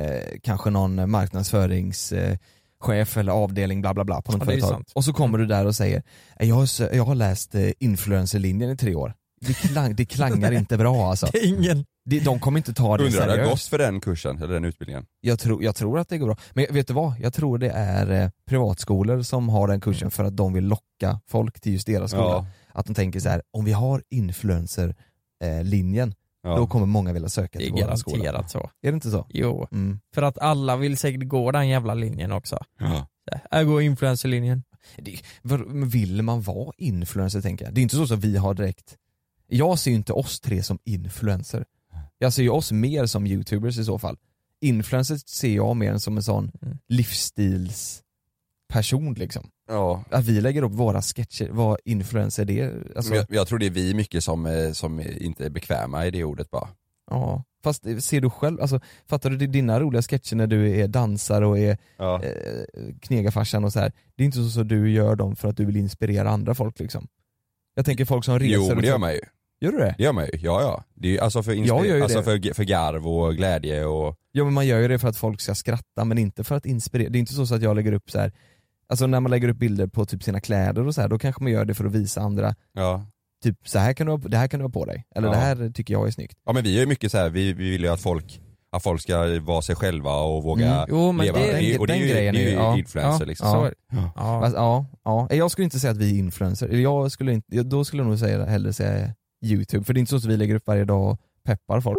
eh, kanske någon marknadsföringschef eh, chef eller avdelning bla bla bla på något
Ja, det är ju
företag.
sant.
Och så kommer du där och säger, "Eh, jag har, sö- jag har läst eh, influencerlinjen i tre år. Det, klang, det klangar inte bra alltså.
Det är ingen
De, de kommer inte ta det
Undrar det har
seriöst.
gått för den kursen, eller den utbildningen.
Jag tror, jag tror att det går bra. Men vet du vad? Jag tror det är eh, privatskolor som har den
Mm.
kursen för att de vill locka folk till just deras skola.
Ja.
Att de tänker så här, om vi har influencer-linjen,
Ja.
då kommer många vilja söka
Det är
till vår skola.
garanterat så.
Är det inte så?
Jo,
Mm.
för att alla vill säkert gå den jävla linjen också.
Ja.
Jag går influencerlinjen.
Det, vad- men vill man vara influencer tänker jag? Det är inte så som vi har direkt. Jag ser ju inte oss tre som influencer. Jag ser ju oss mer som youtubers i så fall. Influencers ser jag mer som en sån
Mm.
livsstilsperson liksom.
Ja.
att vi lägger upp våra sketcher, vad influencer det är. Alltså,
Men jag, jag tror det är vi mycket som, eh, som inte är bekväma i det ordet bara.
ja. Fast ser du själv, alltså, fattar du det är dina roliga sketcher när du är dansare och är
Ja.
eh, knegarfarsan och så här. det är inte så att du gör dem för att du vill inspirera andra folk liksom. Jag tänker folk som reser
Jo
och
men det gör
så-
man ju.
Gör du det?
Det gör man ju, ja ja. Det är, ju- alltså för, inspi-
Jag gör ju
alltså
det.
för, för garv och glädje och...
Ja men man gör ju det för att folk ska skratta men inte för att inspirera, det är inte så att jag lägger upp så här. Alltså när man lägger upp bilder på typ sina kläder och så här, då kanske man gör det för att visa andra,
Ja.
typ så här kan du ha, det här kan du ha på dig, eller
Ja.
det här tycker jag är snyggt.
Ja men vi är ju mycket så här, vi, vi vill ju att folk, att folk ska vara sig själva och våga
Mm.
Jo, men
leva.
det-
är ju- och det är
den
ju,
grejen
det är
är
ju
ju- ja.
influencer liksom.
ja,
Ja.
så är det. Ja.
Fast, ja, ja. Nej, Jag skulle inte säga att vi är influencers, Eller jag skulle inte, jag- då skulle jag nog säga, hellre säga youtube, för det är inte så att vi lägger upp varje dag och peppar folk.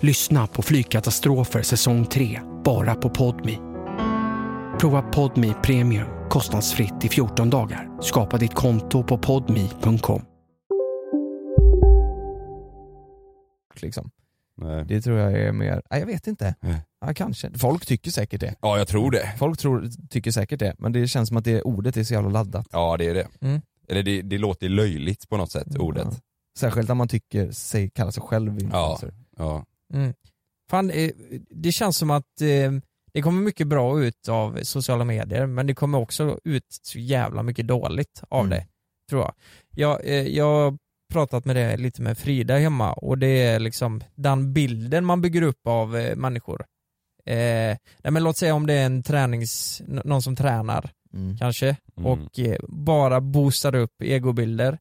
Lyssna på Flygkatastrofer säsong 3, bara på Podmi. Prova Podmi Premium kostnadsfritt i 14 dagar. Skapa ditt konto på podmi.com.
Liksom. Det tror jag är mer, nej, jag vet inte. Ja, kanske. Folk tycker säkert det.
Ja, jag tror det.
Folk tror, tycker säkert det, men det känns som att det ordet är så jävla laddat.
Ja det är det.
Mm.
Eller det, det låter löjligt på något sätt,
Ja.
ordet.
Särskilt när man tycker sig kalla sig själv
Ja.
influencer.
ja.
Mm. Fan, eh, det känns som att eh, det kommer mycket bra ut av sociala medier men det kommer också ut så jävla mycket dåligt av det, tror jag. Jag, eh, jag har pratat med det lite med Frida hemma och det är liksom den bilden man bygger upp av eh, människor. Eh, nej men låt säga om det är en tränings, n- någon som tränar
Mm.
kanske
Mm.
och eh, bara boostar upp egobilder.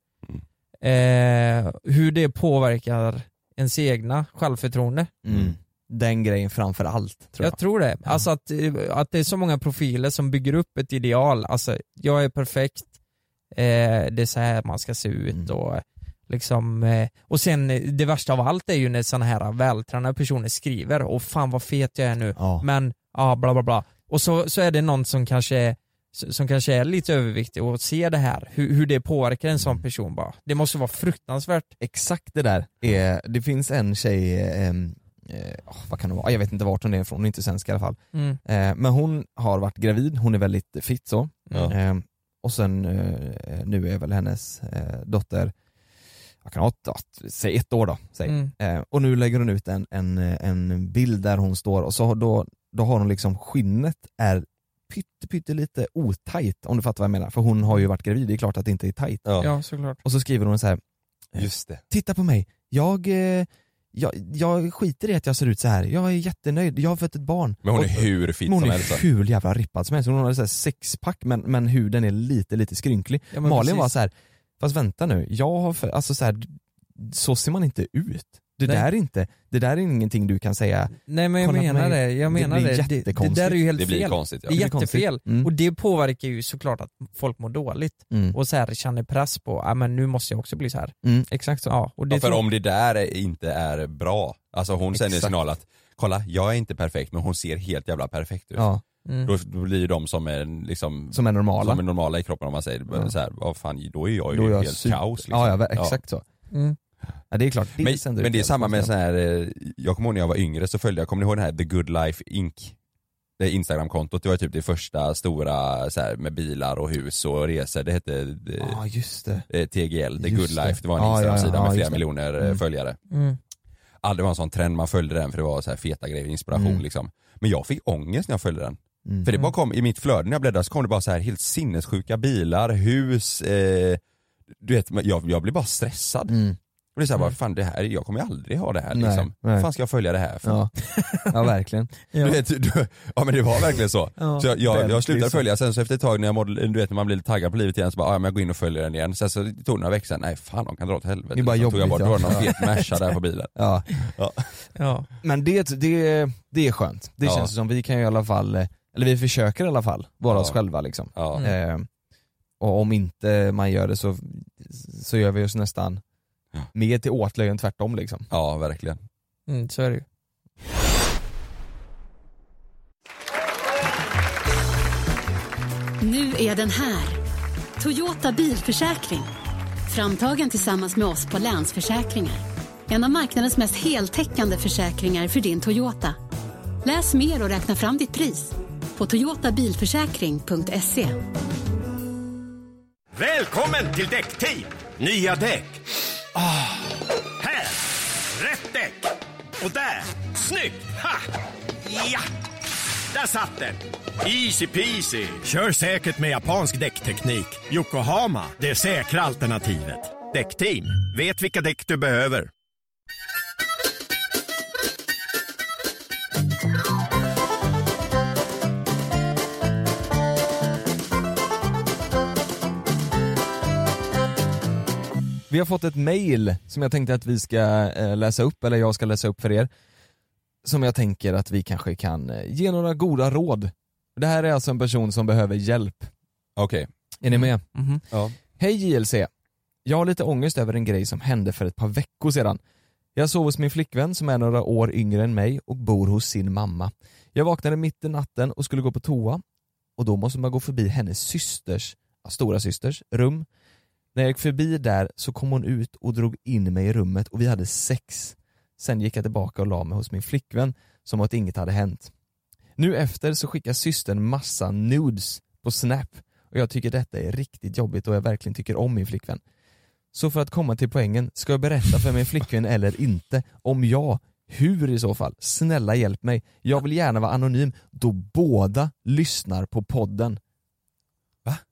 Eh, hur det påverkar ens egna självförtroende.
Mm. Den grejen framför allt.
jag.
Tror jag. Mm.
tror det. Alltså att, eh, att det är så många profiler som bygger upp ett ideal. Alltså, jag är perfekt, eh, det är så här man ska se ut
Mm.
och liksom, eh, och sen eh, det värsta av allt är ju när sådana här vältränade personer skriver och fan vad fet jag är nu,
Ja.
men ja bla bla bla. Och så, så är det någon som kanske är- s- som kanske är lite överviktig och ser det här, hur, hur det påverkar en sån person bara. Det måste vara fruktansvärt.
Mm. Exakt det där. Är, det finns en tjej, eh, eh, åh, vad kan det vara? Jag vet inte vart hon är ifrån, hon är inte svensk i alla fall.
Mm.
Eh, men hon har varit gravid, hon är väldigt fit så.
Ja.
Eh, och sen eh, nu är väl hennes eh, dotter, jag kan ha ett, ja, säg ett år då, säg.
Mm.
Eh, och nu lägger hon ut en, en, eh, en bild där hon står och så har, då, då har hon liksom skinnet är pytte, pyttelite otajt om du fattar vad jag menar. För hon har ju varit gravid, det är klart att det inte är tajt.
Ja.
Ja, såklart.
Och så skriver hon så här, eh,
Just det.
titta på mig, jag, eh, jag, jag skiter i att jag ser ut så här. jag är jättenöjd, jag har fött ett barn.
Men hon är
Och-
hur fit
men hon
som
är
helst.
hur jävla rippad som helst, hon har så här sexpack men, men huden är lite lite skrynklig.
Ja, men
Malin
precis.
var så här, fast vänta nu, jag har för, alltså så här, så ser man inte ut. Det
Nej.
där är inte, det där är ingenting du kan säga,
Nej men jag
Kolla på
menar
mig.
det, jag
Det
menar
blir
det. Det, det,
jättekonstigt.
där är ju helt
Det blir
fel.
konstigt. Ja.
Det är
Det är konstigt.
jättefel
Mm.
och det påverkar ju såklart att folk mår dåligt
mm.
och så här känner press på ah, men nu måste jag också bli så här.
Mm, exakt så.
Ja, och det
Ja, för
tror-
om det där är- inte är bra, alltså hon sänder en
Exakt.
signal att kolla jag är inte perfekt men hon ser helt jävla perfekt ut.
Ja,
mm.
Då, då blir ju de som är liksom
som är normala.
som är normala i kroppen om man säger
Ja.
så här, vad fan, då är jag ju
Då är jag
helt
super-
kaos. Liksom.
ja, ja, ver- exakt så.
Mm.
Ja, det är klart,
Men,
sänder
men
ut
det är
jävla
samma med
konstiga-
sån här, eh, jag kommer ihåg när jag var yngre så följde jag, kommer ni ihåg den här The Good Life Inc? Det här Instagram-kontot, det var ju typ det första stora så här, med bilar och hus och resor, det hette eh,
Ja just det.
eh, TGL, The
Just
Good
det.
Life, det var en
Ja, ja, ja,
Instagram-sida
ja,
med flera
just det.
miljoner eh,
Mm.
följare.
Mm.
Aldrig var en sån trend, man följde den för det var så här feta grejer, inspiration
Mm.
liksom. Men jag fick ångest när jag följde den.
Mm.
För det bara kom, i mitt flöde när jag bläddrade så kom det bara så här helt sinnessjuka bilar, hus, eh, du vet, men jag, jag blev bara stressad.
Mm.
Och det är så här, bara,
Mm.
fan det här, jag kommer ju aldrig ha det här
Nej,
liksom.
nej.
Vad fan ska jag följa det här för?
Ja. ja verkligen.
Du vet, du, ja men det var verkligen så.
Ja.
Så jag, jag, jag
Väldigt
slutade
så.
följa, sen så efter ett tag när jag mådde, du vet när man blir lite taggad på livet igen så bara, ja men jag går in och följer den igen. Sen så tog det några veckor sen, nej fan de kan dra åt helvete.
Det är bara
Liksom, tog jag
jobbigt,
bort, då
ja.
var det någon
Ja.
fet Merca där på bilen.
Ja.
Ja.
Men det, det, det är skönt. Det
Ja.
känns som vi kan ju i alla fall, eh, eller vi försöker i alla fall, vara
Ja.
oss själva liksom.
Ja.
Mm.
Eh, och om inte man gör det så, så gör vi oss nästan
Ja.
mer till åtlöje än tvärtom liksom.
ja, verkligen.
Mm, så är det ju.
Nu är den här. Toyota bilförsäkring. Framtagen tillsammans med oss på Länsförsäkringar. En av marknadens mest heltäckande försäkringar för din Toyota. Läs mer och räkna fram ditt pris på toyotabilförsäkring.se.
Välkommen till Däckteam! Nya däck. Ah, här! Rätt däck! Och där! Snyggt! Ha! Ja!
Där satt den! Easy peasy. Kör säkert med japansk däckteknik. Yokohama, det säkra alternativet. Däckteam, vet vilka däck du behöver.
Vi har fått ett mail som jag tänkte att vi ska eh, läsa upp, eller jag ska läsa upp för er. Som jag tänker att vi kanske kan eh, ge några goda råd. Det här är alltså en person som behöver hjälp.
Okej. Mm. Mm-hmm.
Är ni med?
Mhm.
Ja.
Hej JLC. Jag har lite ångest över en grej som hände för ett par veckor sedan. Jag sov hos min flickvän som är några år yngre än mig och bor hos sin mamma. Jag vaknade mitt i natten och skulle gå på toa och då måste man gå förbi hennes systers, ja, stora systers rum. När jag gick förbi där så kom hon ut och drog in mig i rummet och vi hade sex. Sen gick jag tillbaka och la mig hos min flickvän som att inget hade hänt. Nu efter så skickar systern massa nudes på Snap och jag tycker detta är riktigt jobbigt och jag verkligen tycker om min flickvän. Så för att komma till poängen, ska jag berätta för min flickvän eller inte? Om ja, hur i så fall? Snälla hjälp mig. Jag vill gärna vara anonym då båda lyssnar på podden.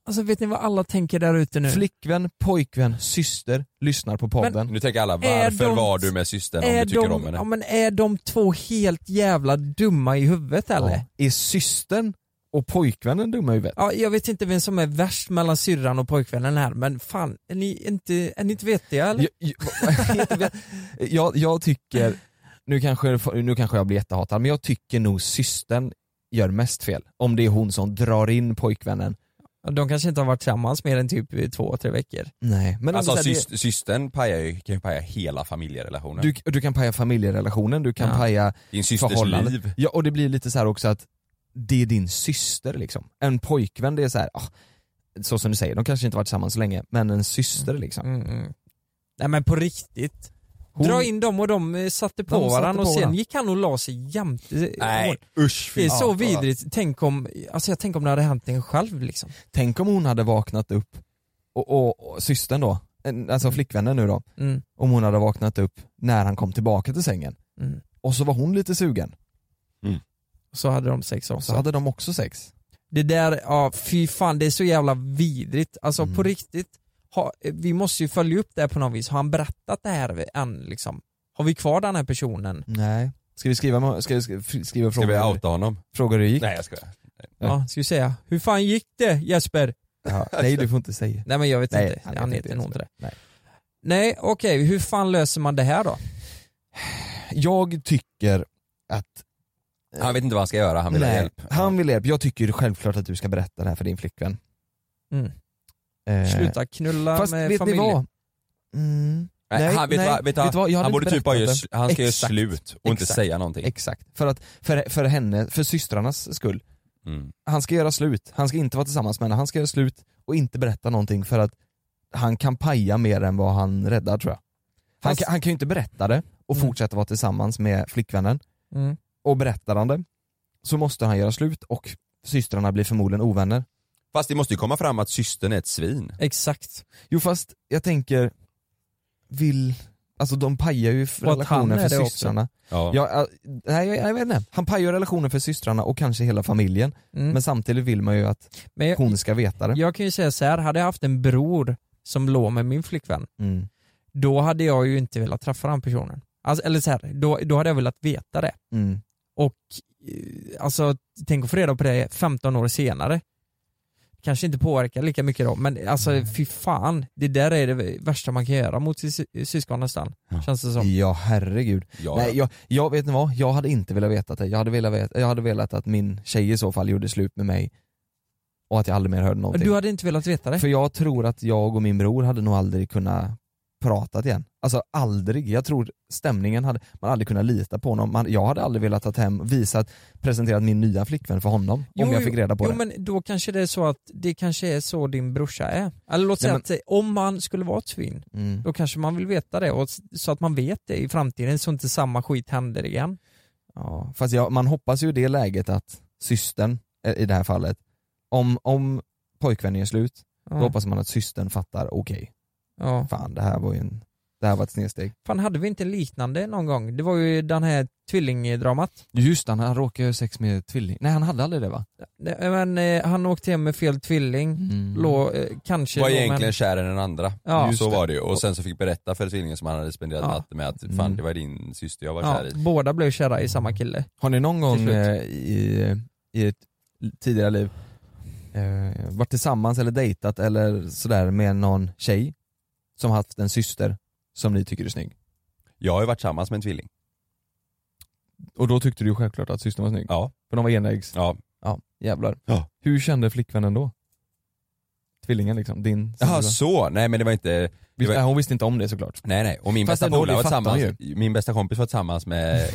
Alltså vet ni vad alla tänker där ute nu?
Flickvän, pojkvän, syster lyssnar på podden.
Nu tänker alla,
Är
varför
de-
var du med systern om
är
du tycker
de,
om henne?
Ja, men är de två helt jävla dumma i huvudet eller?
Är systern och pojkvännen dumma i huvudet?
Ja, jag vet inte vem som är värst mellan syrran och pojkvännen här men fan, är ni inte, är ni inte vettiga eller?
Jag, jag, jag, jag tycker, nu kanske, nu kanske jag blir jättehatad, men jag tycker nog systern gör mest fel. Om det är hon som drar in pojkvännen.
De kanske inte har varit tillsammans mer än typ två, tre veckor.
Nej, men
alltså
alltså, så här,
syst, systern pajar ju, kan ju paja hela familjerelationen.
det, du, du kan paja familjerelationen, du kan
Ja.
paja
Din systers
förhållandet.
liv.
Ja, och det blir lite så här också att det är din syster liksom. En pojkvän, det är så här, ah, så som du säger, de kanske inte varit tillsammans så länge, men en syster liksom.
Mm, mm. Nej men på riktigt.
Hon-
Dra in dem och de eh, satte på
De satte
varandra
på
och sen
varandra.
gick han och la sig jämte.
Nej, usch. fy
Det är så
fan.
vidrigt. Tänk om, alltså jag tänker om det hade hänt en själv liksom.
Tänk om hon hade vaknat upp, och, och, och systern då, en- alltså flickvännen nu då,
Mm.
om hon hade vaknat upp när han kom tillbaka till sängen.
Mm.
Och så var hon lite sugen,
Mm.
Så hade de sex
och så
också.
hade de också sex.
Det där, ja fy fan det är så jävla vidrigt. Alltså
Mm.
på riktigt, ha, vi måste ju följa upp det här på något vis. Har han berättat det här än liksom? Har vi kvar den här personen?
Nej. Ska vi skriva, ska vi sk- skriva
Ska vi
frågor,
outa honom?
frågor hur det gick?
Nej jag skojar.
Ja.
Ja, ska vi säga. Hur fan gick det Jesper?
Ja, nej du får inte säga.
Nej men jag vet
Nej,
inte,
han
han,
vet inte
heter nog inte det.
Nej.
Nej okej, hur fan löser man det här då?
Jag tycker att
Han vet inte vad han ska göra, han vill ha
Nej,
hjälp.
Han vill ha hjälp. Jag tycker självklart att du ska berätta det här för din flickvän.
Mm.
Eh,
Sluta knulla
Fast
med
vet
familj.
ni vad? Mm,
Nej,
Nej,
han, vet,
nej,
vad, vet,
vet du vad? Jag hade
han
inte
borde typ bara
berättat
göra,
det.
sl- han ska
Exakt.
göra slut och inte
Exakt.
säga någonting.
exakt. För att, för, för henne, för systrarnas skull.
Mm.
Han ska göra slut. Han ska inte vara tillsammans med henne. Han ska göra slut och inte berätta någonting för att han kan paja mer än vad han räddar tror jag. Han,
Fast-
kan, han kan ju inte berätta det och
Mm.
fortsätta vara tillsammans med flickvännen.
Mm.
Och berättar han det så måste han göra slut och systrarna blir förmodligen ovänner.
Fast det måste ju komma fram att systern är ett svin.
Exakt.
Jo fast jag tänker, vill, alltså de pajar ju
Och att han
relationen
är
för
det också.
systrarna.
Ja.
Ja, äh, nej jag, jag vet inte, han pajar relationen för systrarna och kanske hela familjen.
Mm.
Men samtidigt vill man ju att
Men jag,
hon ska veta det.
jag kan ju säga så här, hade jag haft en bror som låg med min flickvän,
Mm.
då hade jag ju inte velat träffa den personen. Alltså, eller så här, då, då hade jag velat veta det.
Mm.
Och eh, alltså, tänk att få reda på det 15 år senare. Kanske inte påverkar lika mycket då, men alltså fy fan. Det där är det värsta man kan göra mot sitt sy- syskon nästan,
Ja.
känns det som.
Ja herregud.
Ja.
Nej, jag, jag vet ni vad, jag hade inte velat veta det. Jag hade velat, veta, jag hade velat att min tjej i så fall gjorde slut med mig och att jag aldrig mer hörde någonting.
Du hade inte velat veta det?
För jag tror att jag och min bror hade nog aldrig kunnat prata igen. Alltså aldrig. Jag tror stämningen hade, man aldrig kunnat lita på honom. Man, jag hade aldrig velat ta hem, visat, presenterat min nya flickvän för honom om jag fick reda på
jo,
det.
Jo men då kanske det är så att det kanske är så din brorsa är. Eller låt säga
Nej,
att eh, om han skulle vara ett svin,
Mm.
då kanske man vill veta det och s- så att man vet det i framtiden så inte samma skit händer igen.
Ja, fast jag, man hoppas ju i det läget att systern, eh, i det här fallet, om, om pojkvännen gör slut,
Ja.
då hoppas man att systern fattar, okej,
ja.
fan det här var ju en
Det här var ett snedsteg.
Fan, hade vi inte en liknande någon gång? Det var ju den här tvillingdramat.
Just det, han råkade ju sex med tvilling. Nej han hade aldrig det va?
Nej, Men eh, han åkte hem med fel tvilling,
Mm.
lå, eh, kanske
Var
låg med en-
egentligen kär i den andra.
Ja.
så
Just det.
var det ju. Och sen så fick berätta för tvillingen som han hade spenderat
Ja.
natten med att fan
Mm.
det var din syster jag var
ja,
kär i.
Båda blev kära i samma kille.
Har ni någon gång
slut.
eh, i, i ett tidigare liv eh, varit tillsammans eller dejtat eller sådär med någon tjej som haft en syster som ni tycker är snygg?
Jag har ju varit tillsammans med en tvilling.
Och då tyckte du ju självklart att systern var snygg?
Ja.
För de var enäggs?
Ja.
Ja, jävlar.
Ja.
Hur kände flickvännen då? Tvillingen liksom, din
Jaha
syrra.
så, nej men det var inte... Det
Nej,
var,
hon visste inte om det såklart.
nej nej, och min
Fast
bästa,
ändå,
polare var
det fattar
tillsammans, min bästa kompis var tillsammans med,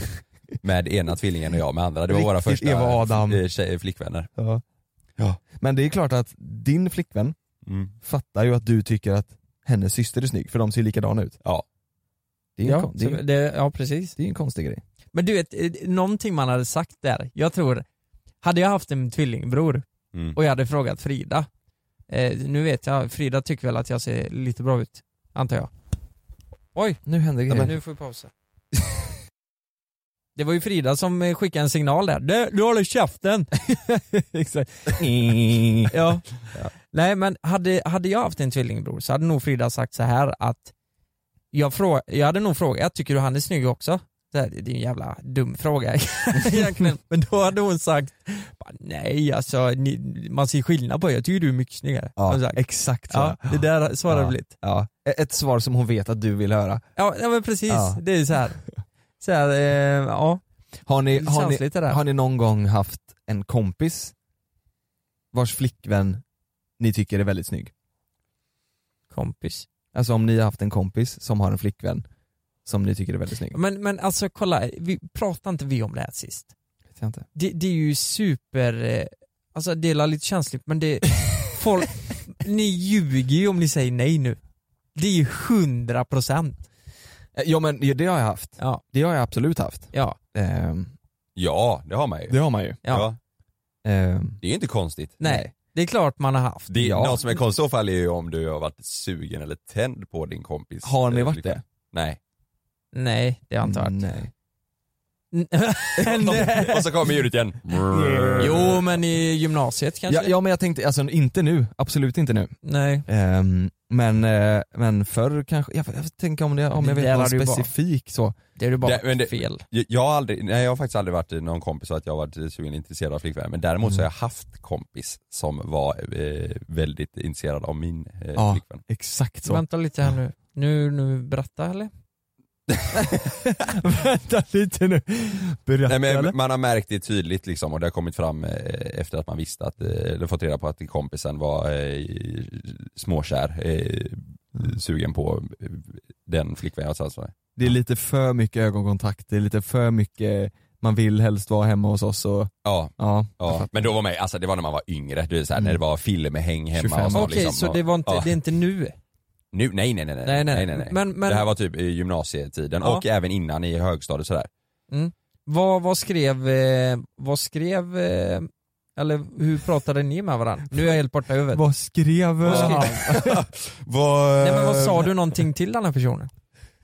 med ena tvillingen och jag med andra. Det var våra
Riktigt
första
Eva och Adam.
eh, tjej, flickvänner.
Ja.
Ja.
Men det är klart att din flickvän
Mm.
fattar ju att du tycker att hennes syster är snygg för de ser likadana ut.
Ja.
Det är ju en,
Ja,
kon- det är,
så
ju-
det, ja, precis.
det är ju en konstig grej.
Men du vet, eh, någonting man hade sagt där, jag tror, hade jag haft en tvillingbror
Mm.
och jag hade frågat Frida, eh, nu vet jag, Frida tycker väl att jag ser lite bra ut, antar jag. Oj,
Nu händer
ja,
grejer.
men nu får vi pausa. Det var ju Frida som eh, skickade en signal där, du, du håller käften!
Exakt.
ja. Nej men hade, hade jag haft en tvillingbror så hade nog Frida sagt så här att jag, frå, jag hade nog frågat, tycker du han är snygg också? Det, här, det är en jävla dum fråga egentligen. Men då hade hon sagt, "Bara, nej alltså ni, man ser skillnad på er, jag tycker du är mycket snyggare.
Ja,
Hon sagt,
exakt så.
ja, det där svarar
Ja.
väl lite.
Ja. E- Ett svar som hon vet att du vill höra.
Ja, ja men precis,
Ja.
det är så här. Så här, eh, ja,
Har ni,
lite
har, ni,
känsligt det där.
har ni någon gång haft en kompis vars flickvän ni tycker är väldigt snygg?
Kompis.
Alltså om ni har haft en kompis som har en flickvän som ni tycker är väldigt snygg?
Men, men alltså kolla, vi, pratade inte vi om det här sist?
Vet jag inte.
det, det är ju super, eh, alltså det är lite känsligt men det, folk, ni ljuger ju om ni säger nej nu. Det är ju hundra procent.
Eh, Ja men det har jag haft.
Ja,
Det har jag absolut haft.
ja,
Ehm,
Ja, det har man ju.
det har man ju.
ja.
Ehm,
Det är ju inte konstigt.
Nej, det är klart man har haft.
Det,
Ja.
Något som är konstigt i så fall är ju om du har varit sugen eller tänd på din kompis.
har ni
eh,
varit
flickvän.
det? Mm,
Nej.
Nej, det har jag inte varit.
Nej.
Nej.
Och så kommer ljudet igen.
Jo men i gymnasiet kanske?
Ja, ja men jag tänkte, alltså inte nu, absolut inte nu.
Nej.
Ehm, men, eh, men förr kanske, jag, jag tänker om, det, om jag
Det
vet
där
någon
har du ju bara-
specifik så.
Det är ju bara
Det- men det-
fel.
Jag, jag, har aldrig, nej, jag har faktiskt aldrig varit någon kompis så att jag har varit sugen och intresserad av flickvänner. Men däremot så har jag haft kompis som var eh, väldigt intresserad av min eh,
Ja.
flickvän.
Exakt så.
Vänta lite här nu. Nu, nu berätta eller?
Vänta lite nu. Berätta
Nej,
eller?
men man har märkt det tydligt liksom och det har kommit fram eh, efter att man visste att, eh, eller fått reda på att kompisen var eh, småkär, eh, sugen på eh, den alltså, flickvän jag var tillsammans med.
Det är lite för mycket ögonkontakt, det är lite för mycket man vill helst vara hemma hos oss och
Ja,
ja. jag
Ja,
fattar.
men då var man alltså det var när man var yngre, du vet såhär,
Mm.
när det var filmhäng hemma
25.
och så
Okej,
liksom,
så
och,
det var inte,
ja.
det är inte nu?
Nu, nej nej nej nej,
Nej, nej,
nej, nej, nej.
men- men-
Det här var typ i gymnasietiden
Ja.
och även innan i högstadiet sådär.
Vad, vad skrev, eh, vad skrev, eh, eller hur pratade ni med varandra? Nu är jag helt borta i huvudet.
Vad skrev...
Vad skrev-
Vad...
Nej men vad sa du någonting till den här personen?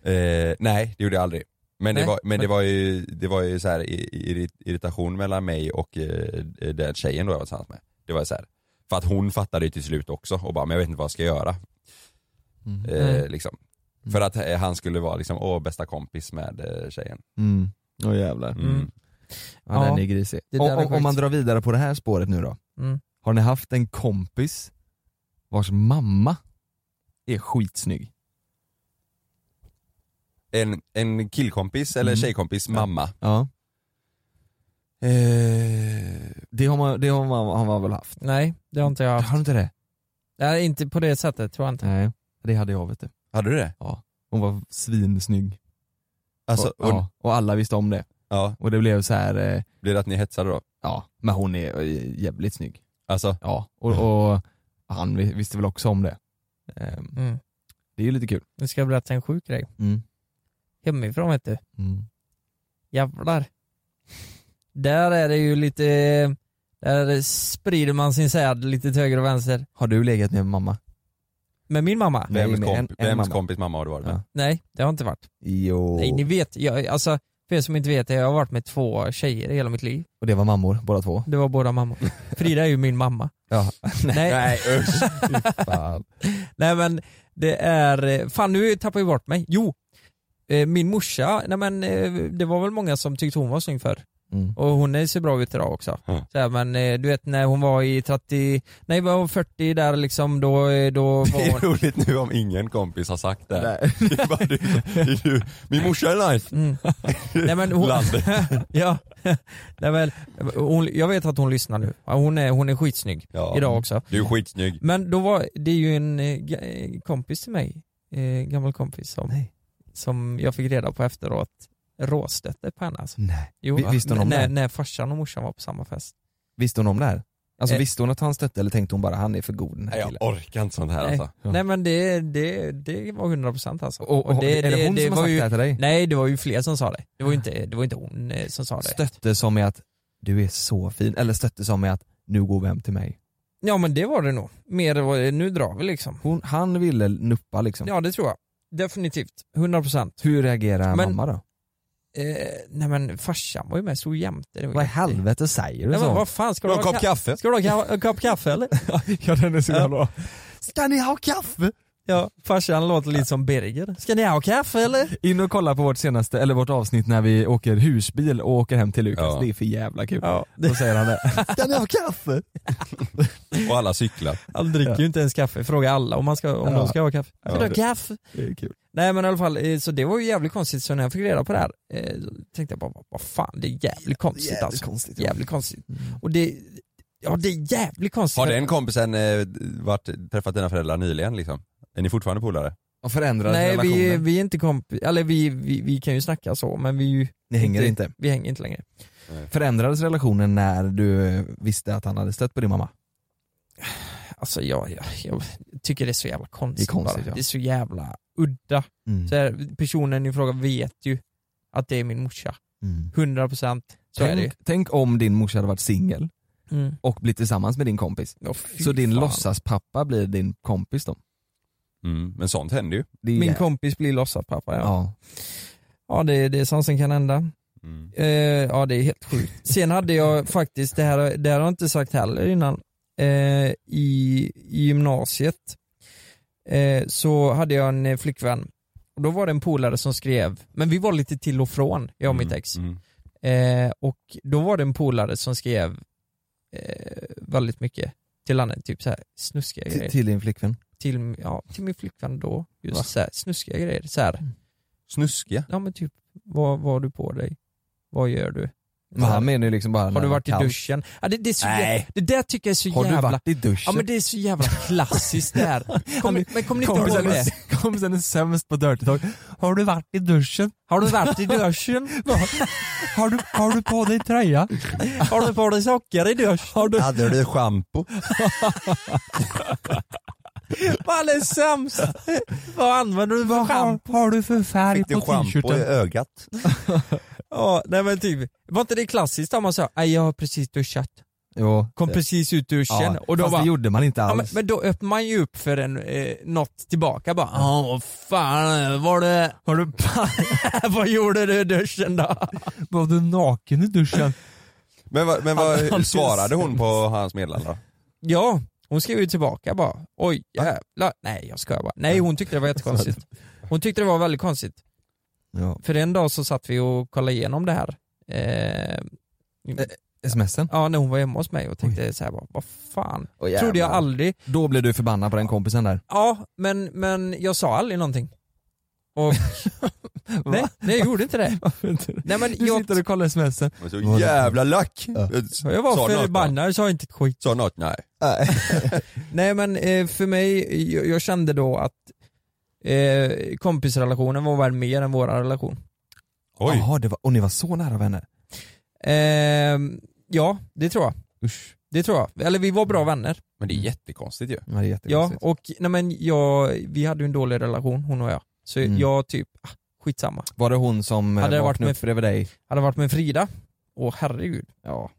Eh, nej, det gjorde jag aldrig. Men,
Nej.
det var, men det var ju, det var ju så här, i- i- irritation mellan mig och eh, den tjejen då jag var tillsammans med. Det var så här. För att hon fattade ju till slut också och bara, men jag vet inte vad jag ska göra.
Mm.
Eh,
Mm.
liksom. För att eh, han skulle vara liksom, åh bästa kompis med eh, tjejen.
Mm. Åh jävlar.
Mm.
Ja,
Ja.
den är grisig.
Det där är
Och, och,
sjukt.
om man drar vidare på det här spåret nu då.
Mm.
Har ni haft en kompis vars mamma är skitsnygg?
En, en killkompis eller
Mm.
tjejkompis mamma.
Ja.
Eh,
Det har man, det har man, har man väl haft?
Nej, det har inte jag haft.
Har du inte det?
Nej, inte på det sättet tror jag inte.
Nej. Det hade jag vet du.
hade du det?
Hon var svinsnygg.
Alltså,
och,
och, ja.
ja, och alla visste om det. Och det blev så här. eh,
Blev det att ni hetsade då?
ja men hon är eh, jävligt snygg.
Alltså,
Ja, och, och han vi- visste väl också om det. Ehm,
Mm.
Det är ju lite kul.
Nu ska jag berätta en sjuk grej. Hemifrån vet du. Jävlar. Där är det ju lite, där sprider man sin säd lite till höger och vänster.
Har du legat med mamma?
Med min mamma?
Vems,
med
komp- vems kompis mamma har du varit med?
Nej, det har inte varit.
Jo.
Nej, ni vet, jag, alltså för er som inte vet, jag har varit med två tjejer i hela mitt liv.
Och det var mammor båda två?
Det var båda mammor. Frida är ju min mamma.
Ja.
Nej.
Nej, usch. Fy fan.
Nej men det är, fan nu tappar jag bort mig. Jo, eh, min morsa, nej men eh, det var väl många som tyckte hon var snygg förr.
Mm.
Och hon är- ser bra ut idag också. Så här, men eh, du vet när hon var i 30, nej var hon 40 där liksom då, eh, då
Det
var
är
hon...
roligt nu om ingen kompis har sagt det. här. Det är bara du, det är du. Min morsa är nice.
Nej, men hon...
Landet.
ja. Nej, men, hon, jag vet att hon lyssnar nu. Ja, Hon är, hon är skitsnygg idag också.
Du är skitsnygg.
Mm.
Men då var, det är ju en eh, ga- eh, kompis till mig, eh, gammal kompis som, som jag fick reda på efteråt råstötte på henne alltså.
Nej.
Jo,
Vi-
va?
visste hon om
när,
det?
när farsan och morsan var på samma fest.
Visste hon om det här? Alltså
Eh.
visste hon att han stötte eller tänkte hon bara han är för god den här
Nej, jag
killen?
orkar inte sånt här
Nej,
alltså.
nej men det, det, det var 100% alltså.
Och, och, är det, hon som har
var
sagt
ju,
det här till dig?
Nej det var ju fler som sa det. Det var ju inte, det var inte hon eh, som sa det.
Stötte som med att du är så fin, eller stötte som med att nu går vi hem till mig?
Ja men det var det nog. Mer var det, nu drar vi liksom.
Hon, han ville nuppa liksom.
Ja det tror jag. Definitivt. 100%.
Hur reagerar
Men-
mamma då?
Eh, nej men farsan var ju med, stod jämte. Det var ju-
Vad i helvete säger du
Nej, men
så?
vad fan, ska du
Någon
ha
kopp
ka-
kaffe?
Ska du ha ka- en kopp kaffe eller?
ja den är så
jävla
bra. Ska ni ha kaffe?
Ja, farsan låter lite som Birger. Ska ni ha kaffe eller?
In och kolla på vårt senaste, eller vårt avsnitt när vi åker husbil och åker hem till Lukas.
Ja.
Det är för jävla kul.
Ja,
Då säger han det. Ska ni ha kaffe?
Och alla cyklar.
han dricker ju inte ens kaffe. Fråga alla om, man ska, om
Ja.
de ska ha kaffe. Ska
Ja,
du ha
det-
kaffe?
Det är kul.
Nej men i alla fall, eh, så det var ju jävligt konstigt. Så när jag fick reda på det här, eh, så tänkte jag bara, vad- vad fan det är jävligt konstigt
jävligt
alltså.
konstigt, Mm. ja.
jävligt konstigt. Och det, ja det är jävligt konstigt.
Har
att-
den kompisen eh, varit, träffat dina föräldrar nyligen liksom? Är ni fortfarande polare?
Och förändrar
Nej
relationen.
vi, vi är inte kompis, eller vi, vi, vi kan ju snacka så men vi är ju
Ni hänger inte.
Vi hänger inte längre.
Förändrades relationen när du eh, visste att han hade stött på din mamma?
Alltså jag, jag, jag tycker det är så jävla konstigt,
Det är konstigt,
bara.
ja. Mm.
Det är så jävla udda. Så här, personen i fråga vet ju att det är min morsa.
Mm.
100% så är det ju.
Tänk, tänk om din morsa hade varit singel
Mm.
och blivit tillsammans med din kompis.
Åh, fy
Så din
fan.
låtsaspappa blir din kompis då?
Mm. Men sånt händer ju.
Det är
Min
jä-
kompis blir låtsaspappa ja.
Ja.
Ja det, det är sånt som kan hända.
Mm.
Eh, ja det är helt sjukt. Sen hade jag faktiskt, det här, det här har jag inte sagt heller innan, eh, i, i gymnasiet eh, så hade jag en eh, flickvän och då var det en polare som skrev, men vi var lite till och från, jag och mitt ex.
Mm.
Eh, och då var det en polare som skrev eh, väldigt mycket till henne, typ så här snuskiga
Till,
grejer.
till din flickvän.
Till, ja, till min flickvän då,
Va? Mm.
just så här, snuskiga grejer. Så här,
Snuskiga.
ja men typ, vad, vad har du på dig? Vad gör du? Så
Men
här,
han menar ju liksom bara när
har
det
du
var
varit i
kallt.
duschen? Ja, det, det, är så
Nej.
jävla, det där tycker jag är så
Har du
jävla...
varit i duschen?
ja men det är så jävla klassiskt det här. Kom,
Han-
men kommer ni inte ihåg det?
kompisen är sämst på Dirty Talk. Har du varit i duschen?
Har du varit i duschen?
Har du, har du på dig tröja?
har du på dig socker i duschen? Har du...
Hade du schampo?
Fan är sämst! Vad använder du för schampo?
har du för färg
Fick du schampo i ögat?
Ja, nej men typ, var inte det klassiskt om man sa "Nej, jag har precis duschat,
Jo.
kom precis ut ur duschen och då
Fast
bara,
det gjorde man inte
ja, men,
alls.
men då öppnar man ju upp för en, eh, något tillbaka bara, ja vad fan var det, har du, vad gjorde du i duschen då?
var du naken i duschen?
Men, vad- men
Han- han-
vad svarade hon på hans meddelande då?
Ja, hon skrev ju tillbaka bara, oj jävlar, nej jag skojar bara, nej hon tyckte det var jättekonstigt. Hon tyckte det var väldigt konstigt.
Ja.
För en dag så satt vi och kollade igenom det här. Eh,
Smsen?
ja, när hon var hemma hos mig och tänkte så här bara, vad fan, trodde jag aldrig
Då blev du förbannad på den kompisen där.
Ja, men, men jag sa aldrig någonting. Och, nej, nej, jag gjorde inte det. Nej, men jag,
och kollar smsen.
Men Så jävla lack!
jag
Sa
var
något då?
förbannad, jag sa inte ett skit.
Sa något? Nej.
Nej men eh, för mig, jag, jag kände då att eh, kompisrelationen var väl mer än vår relation.
Oj.
Jaha, det var, och ni var så nära vänner?
Ehm, ja, det tror jag.
Usch.
Det tror jag. Eller vi var bra vänner.
Men det är jättekonstigt ju.
Ja, det är
Ja,
jättekonstigt.
och nej men jag, vi hade ju en dålig relation hon och jag. Så
Mm.
jag typ, ah, skitsamma.
Var det hon som
Hade
hade
det
vaknade
varit
varit
med-
upp bredvid dig?
Hade det varit med Frida, åh herregud.
Ja.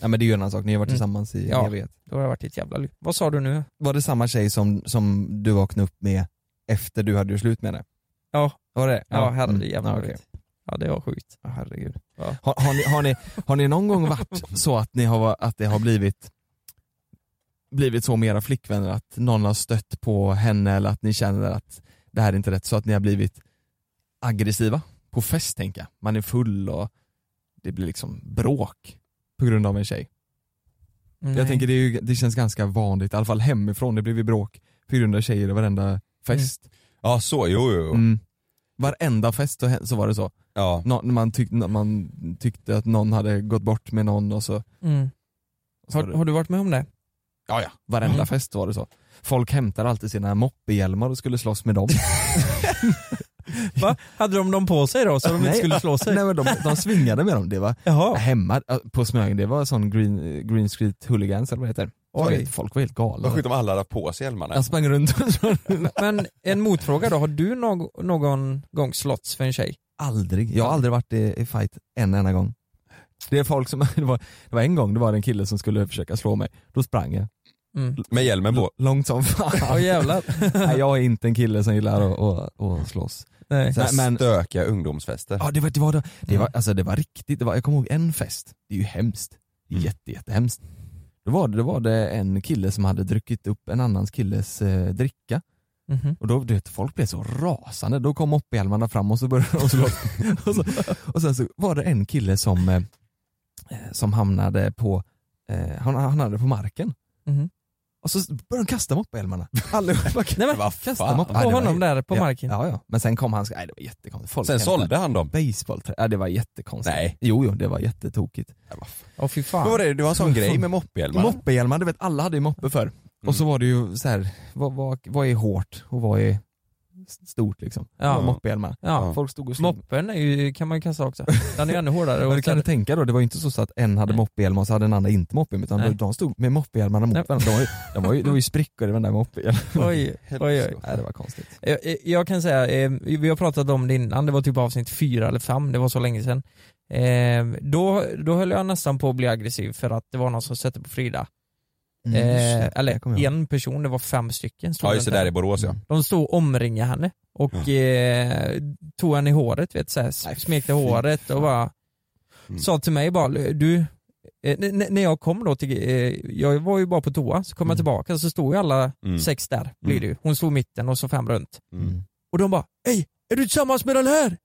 Ja men det är ju en annan sak, ni har varit tillsammans i
Ja.
en evighet.
Då har jag varit i ett jävla liv. Vad sa du nu?
Var det samma tjej som, som du vaknade upp med efter du hade gjort slut med henne?
Ja.
Var det? Mm.
Ja, herregud, jävlar
okej.
vet. Ja det var sjukt.
Ja, herregud.
Ja.
Har, har, ni, har, ni, har ni någon gång varit så att, ni har, att det har blivit blivit så med era flickvänner att någon har stött på henne eller att ni känner att det här är inte rätt så att ni har blivit aggressiva på fest tänker jag. Man är full och det blir liksom bråk på grund av en tjej.
Mm. Nej.
Jag tänker det, är ju, det känns ganska vanligt, i alla fall hemifrån, det blir ju bråk på grund av tjejer i varenda fest.
Mm.
Ja så, jo jo. jo.
Mm. Varenda fest så, hä- så var det så.
Ja.
Nå, när man, tyck, när man tyckte att någon hade gått bort med någon och så,
Mm.
och så
Har, har du varit med om det?
ja ja, varenda
Mm.
fest var det så. Folk hämtade alltid sina moppehjälmar och skulle slåss med dem.
Va? Hade de dem på sig då så de inte
Nej.
skulle slå sig?
Nej men de, de svingade med dem, det var
Jaha.
hemma äh, på Smögen, det var sån green, green street hooligans eller vad det heter. Så
Oj.
helt- Folk var helt
Vad
galna.
sjukt om alla hade på sig hjälmarna.
Jag sprang runt och så-
Men en motfråga då, har du någ- någon gång slåtts för en tjej?
Aldrig. Jag har aldrig varit i, i fight en enda gång. Det är folk som, det var, det var en gång det var en kille som skulle försöka slå mig, då sprang jag.
Mm.
Med hjälmen på.
Långt som
Ja
fan.
jävlar.
Nej, jag är inte en kille som gillar att, att, att slåss.
Nej.
Så här
men-
stökiga ungdomsfester.
Ja det var, det var, det var, det var, alltså, det var riktigt, det var, jag kommer ihåg en fest, det är ju hemskt. Det är
Mm.
Jätte, jättehemskt. Då var, det, då var det en kille som hade druckit upp en annans killes eh, dricka
Mhm.
och då, du vet, folk blev så rasande, då kom moppehjälmarna fram och så började de slå. och, så, och sen så var det en kille som, eh, som hamnade på, eh, han, han hamnade på marken.
Mhm.
Och så började de kasta moppehjälmarna. Allihopa
Nej men
Vad
kastade
fan.
mopp- Ja,
på
det var-
honom där på
ja,
marken.
Ja, ja. Men sen kom han, nej det var jättekonstigt. Folk
Sen
hämtade-
sålde han dem.
Baseballträ, ja det var jättekonstigt.
Nej.
Jo, jo det var jättetokigt.
Åh fy fan.
Vad var det? det var en sån grej med moppehjälmarna.
Moppehjälmar, du vet alla hade ju moppe förr. Och
Mm.
så var det ju så här, vad, vad, vad är hårt och vad är stort liksom?
Ja.
Ja. Moppehjälmar.
Ja.
Folk stod och slog.
Moppen är ju, kan man ju kasta också. Den är ju ännu hårdare.
Men
Och
det kan du tänka då, det var ju inte så, så att en hade
Nej.
moppehjälm och så hade den andra inte moppehjälm utan
Nej.
de stod med moppehjälmarna mot
Nej.
varandra. De var ju, de var ju, det var ju sprickor i den där moppehjälmen.
Oj, oj, oj.
Nej, det var konstigt.
Jag, jag kan säga, eh, vi har pratat om det innan, det var typ avsnitt fyra eller fem, det var så länge sedan. Eh, då, då höll jag nästan på att bli aggressiv för att det var någon som satte på Frida.
Mm,
Eh,
shit, det kommer
eller
jag ihåg.
en person, det var fem stycken. stod
Ja
runt
just det, där
henne.
i Borås ja.
De stod och omringade henne och eh, tog henne i håret, vet, så här,
Nej,
smekte
fy
håret och
fan.
bara
Mm.
sa till mig bara, du, eh, n- n- när jag kom då till, eh, jag var ju bara på toa, så kom jag
Mm.
tillbaka så stod ju alla
Mm.
sex där, blir det ju. Hon stod i mitten och så fem runt.
Mm.
Och de bara Hej, är du tillsammans med den här?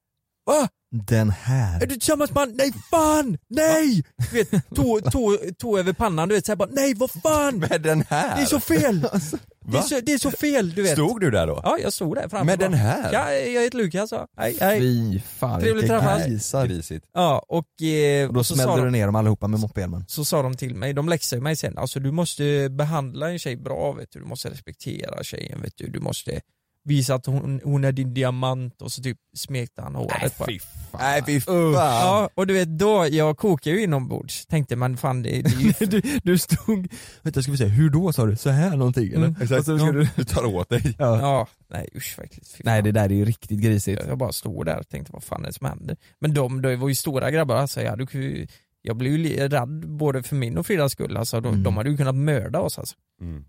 Va?
Den här.
Är du tillsammans med han? Nej fan! Nej! Du vet, tå, tå, tå över pannan, du vet såhär bara nej vad fan!
Med den
Det är
här?
så fel!
Alltså.
Det
Va?
är så, det är så fel du vet.
Stod du där då?
Ja jag stod där framme.
Med den
bara,
här?
Ja, jag heter Lukas ja. Hej, hej.
Fy fan
Trevligt
vilka
träffas.
grisar.
Grisigt.
Ja och, eh,
Och då
så, sa
smällde du
de,
ner dem allihopa med moppehjälmen.
så sa de till mig, de läxade mig sen, alltså du måste behandla en tjej bra vet du, du måste respektera tjejen vet du, du måste visa att hon, hon är din diamant och så typ smekte han håret på henne.
Nej fy fan.
Ja, och du vet då, jag kokade ju inombords, tänkte man fan det, det är ju...
du, du stod, vänta ska vi se, hur då sa du? Så här någonting eller?
Mm.
Och så ska du,
Du, du tar åt dig.
ja.
Ja, nej usch vad äckligt. Fy
Nej
fan.
det där är ju riktigt grisigt.
Jag bara stod där och tänkte vad fan är det som händer? Men de, de var ju stora grabbar alltså, jag, hade, ju- jag blev ju li- rädd både för min och Fridas skull alltså, de,
Mm.
de hade ju kunnat mörda oss alltså.
Mm.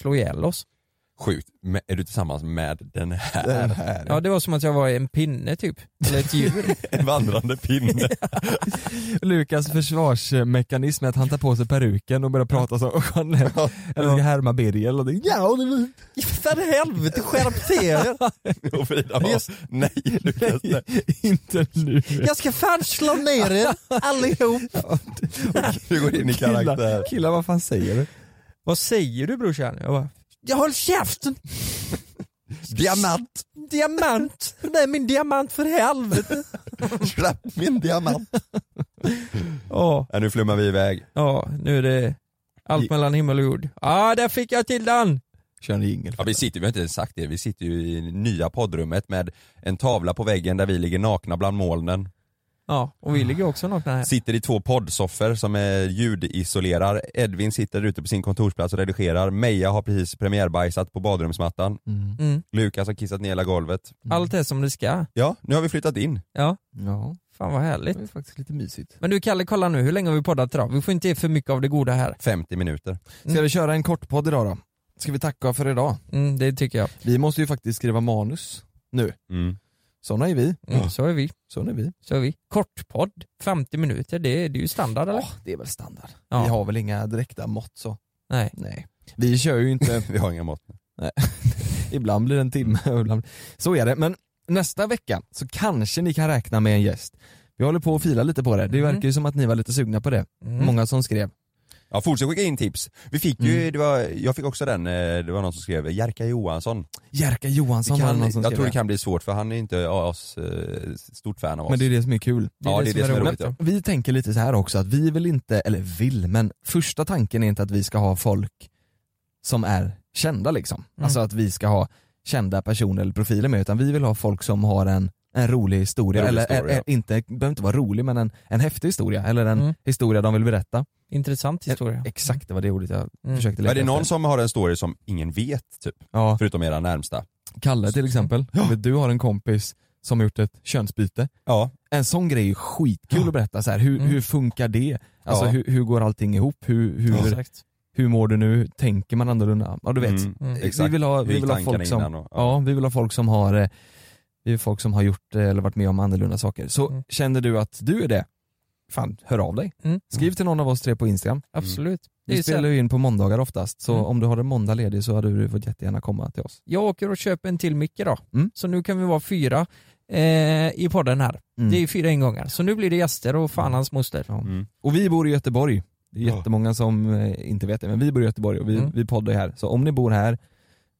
Slå ihjäl oss.
Sjukt. Men är du tillsammans med den här?
Den här.
Ja det var som att jag var en pinne typ, eller ett djur.
En vandrande pinne.
Lukas försvarsmekanism är att han tar på sig peruken och börjar prata som Jeanette, eller ska härma Birger eller någonting. Ja, och det,
För helvete skärp till er!
Och Frida bara,
Just-
nej Lukas. Nej.
inte nu.
Jag ska fan slå ner er allihop!
Du går in i karaktär.
Killar, killar vad fan säger du?
Vad säger du brorsan? Jag bara, jag höll käften!
Diamant!
Diamant! Nej min diamant för helvete!
Släpp min diamant!
Ja,
Ja, nu flummar vi iväg.
ja nu är det allt mellan himmel och jord. Ja, ah, där fick jag till den!
Kör en jingel.
Ja, vi sitter, vi har inte ens sagt det, vi sitter ju i nya poddrummet med en tavla på väggen där vi ligger nakna bland molnen.
Ja, och vi ligger också nakna här.
Sitter i två poddsoffor som är ljudisolerar. Edvin sitter ute på sin kontorsplats och redigerar. Meja har precis premiärbajsat på badrumsmattan.
Mm.
Lukas har kissat ner hela golvet.
Allt är som det ska.
Mm. Ja, nu har vi flyttat in.
Ja.
Ja.
Fan vad härligt.
Det är faktiskt lite mysigt.
Men du Kalle, kolla nu, hur länge har vi poddat idag? Vi får inte ge för mycket av det goda här.
50 minuter.
Ska vi köra en kortpodd idag då? Ska vi tacka för idag?
Mm, det tycker jag.
Vi måste ju faktiskt skriva manus nu.
Mm.
Såna är vi.
Mm, så är vi.
Så är vi.
Så är vi. Kortpodd, 50 minuter, det, det är ju standard eller?
Det är väl standard.
Ja.
Vi har väl inga direkta mått så.
Nej.
Nej. Vi kör ju inte,
Vi har inga mått.
ibland blir det en timme och ibland... Så är det. Men nästa vecka så kanske ni kan räkna med en gäst. Vi håller på att fila lite på det. Det
Mm.
verkar ju som att ni var lite sugna på det.
Mm.
Många som skrev.
Ja, fortsätt skicka in tips. Vi fick ju,
Mm.
det var, jag fick också den, eh, det var någon som skrev Jerka Johansson.
Jerka
Vi
Johansson var det
kan,
någon som
jag
skrev.
tror det kan bli svårt för han är inte as, eh, stort fan av oss.
Men det är det som är kul.
ja, det är det som är roligt. Ja.
Vi tänker lite så här också att vi vill inte, eller vill, men första tanken är inte att vi ska ha folk som är kända liksom.
Mm.
Alltså att vi ska ha kända personer eller profiler med utan vi vill ha folk som har en, en rolig historia,
En rolig
eller
historia,
ä- ä-
ja.
inte, behöver inte vara rolig men en, en häftig historia eller en
Mm.
historia de vill berätta. Eh,
Intressant historia.
Exakt det var det ordet jag
Mm.
försökte leta
Är det någon
efter.
som har en story som ingen vet, typ?
Ja,
Förutom era närmsta?
Kalle till exempel. Vet Du har en kompis som har gjort ett könsbyte.
Ja.
En sån grej är ju skitkul att berätta, så här, hur,
Mm.
hur funkar det? Alltså
Ja.
hur, hur går allting ihop? Hur, hur,
Exakt.
hur mår du nu? Tänker man annorlunda? Ja du vet.
Mm,
Mm.
Vi
Exakt.
vill ha,
Hur
vi
gick
vill ha
tankarna
folk som,
innan och- ja.
ja, vi vill ha folk som har, eh, vi vill ha folk som har gjort eh, eller varit med om annorlunda saker. Så
Mm.
känner du att du är det, fan hör av dig.
Mm.
Skriv till någon av oss tre på Instagram.
Absolut. Det är
Vi
ju
spelar
spelar...
ju in på måndagar oftast, så
Mm.
om du har en måndag ledig så hade du fått jättegärna komma till oss.
Jag åker och köper en till mick idag,
Mm.
så nu kan vi vara fyra eh, i podden här.
Mm.
Det är fyra ingångar, så nu blir det gäster och fan hans moster.
Ja.
Mm.
Och vi bor i Göteborg. Det är
Ja.
jättemånga som eh, inte vet det, men vi bor i Göteborg och vi,
Mm.
vi poddar ju här. Så om ni bor här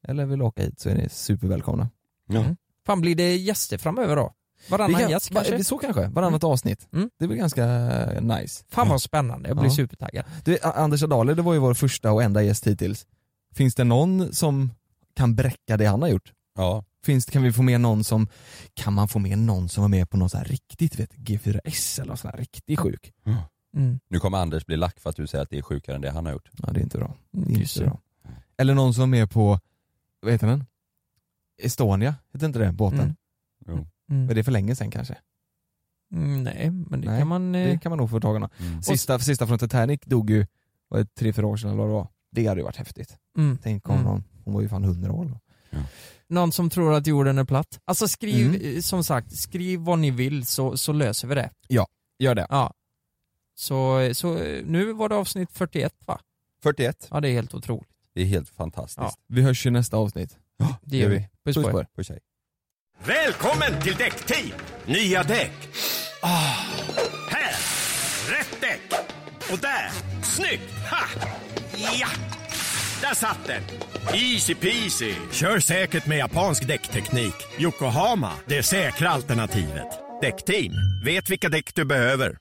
eller vill åka hit så är ni supervälkomna.
Mm. Fan blir det gäster framöver då?
Vi
Varannan
kan-
gäst
va-
kanske?
Så kanske, varannat avsnitt.
Mm.
Det blir ganska eh, nice.
Fan vad spännande, jag blir
Ja.
supertaggad.
Du, A- Anders Adale, det var ju vår första och enda gäst hittills. Finns det någon som kan bräcka det han har gjort?
Ja.
Finns, kan vi få med någon som, kan man få med någon som var med på någon sån här riktigt, vet, G4S eller någon sån här riktigt sjuk?
Mm.
Nu kommer Anders bli lack för att du säger att det är sjukare än det han har gjort.
Ja det är inte bra. Det är
Mm, Just
inte
det.
bra. Eller någon som är på, vad heter den? Estonia, heter inte det båten?
Mm.
Jo.
Mm.
Var det för länge sedan kanske?
Mm, nej, men det
Nej,
kan man... Eh...
Det kan man nog få tag i någon.
Mm.
Sista, sista från Titanic dog ju, var det tre, fyra år sedan eller vad det var? Det hade ju varit häftigt.
Mm.
Tänk om
Mm.
någon, hon var ju fan hundra år då.
Någon som tror att jorden är platt. Alltså skriv,
Mm.
eh, som sagt, skriv vad ni vill så, så löser vi det.
Gör det.
Ja. Så, så eh, nu var det avsnitt 41 va?
41.
Ja det är helt otroligt.
Det är helt fantastiskt.
Vi hörs i nästa avsnitt.
Det gör
gör
vi. Puss på er.
På sig.
Välkommen till Däckteam! Nya däck. Ah, här! Rätt däck! Och där! Snyggt! Ha! Ja! Där satt den! Easy peasy! Kör säkert med japansk däckteknik. Yokohama, det säkra alternativet. Däckteam, vet vilka däck du behöver.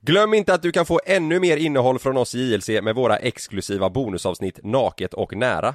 Glöm inte att du kan få ännu mer innehåll från oss i JLC med våra exklusiva bonusavsnitt Naket och nära.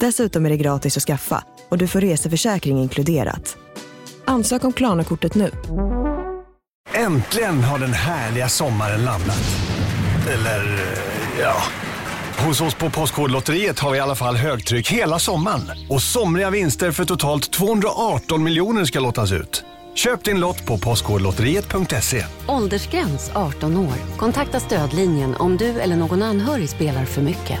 Dessutom är det gratis att skaffa och du får reseförsäkring inkluderat. Ansök om Klarna-kortet nu.
Äntligen har den härliga sommaren landat. Eller, eh, ja. Hos oss på Postkodlotteriet har vi i alla fall högtryck hela sommaren. Och somriga vinster för totalt 218 miljoner ska lottas ut. Köp din lott på postkodlotteriet.se.
Åldersgräns 18 år. Kontakta stödlinjen om du eller någon anhörig spelar för mycket.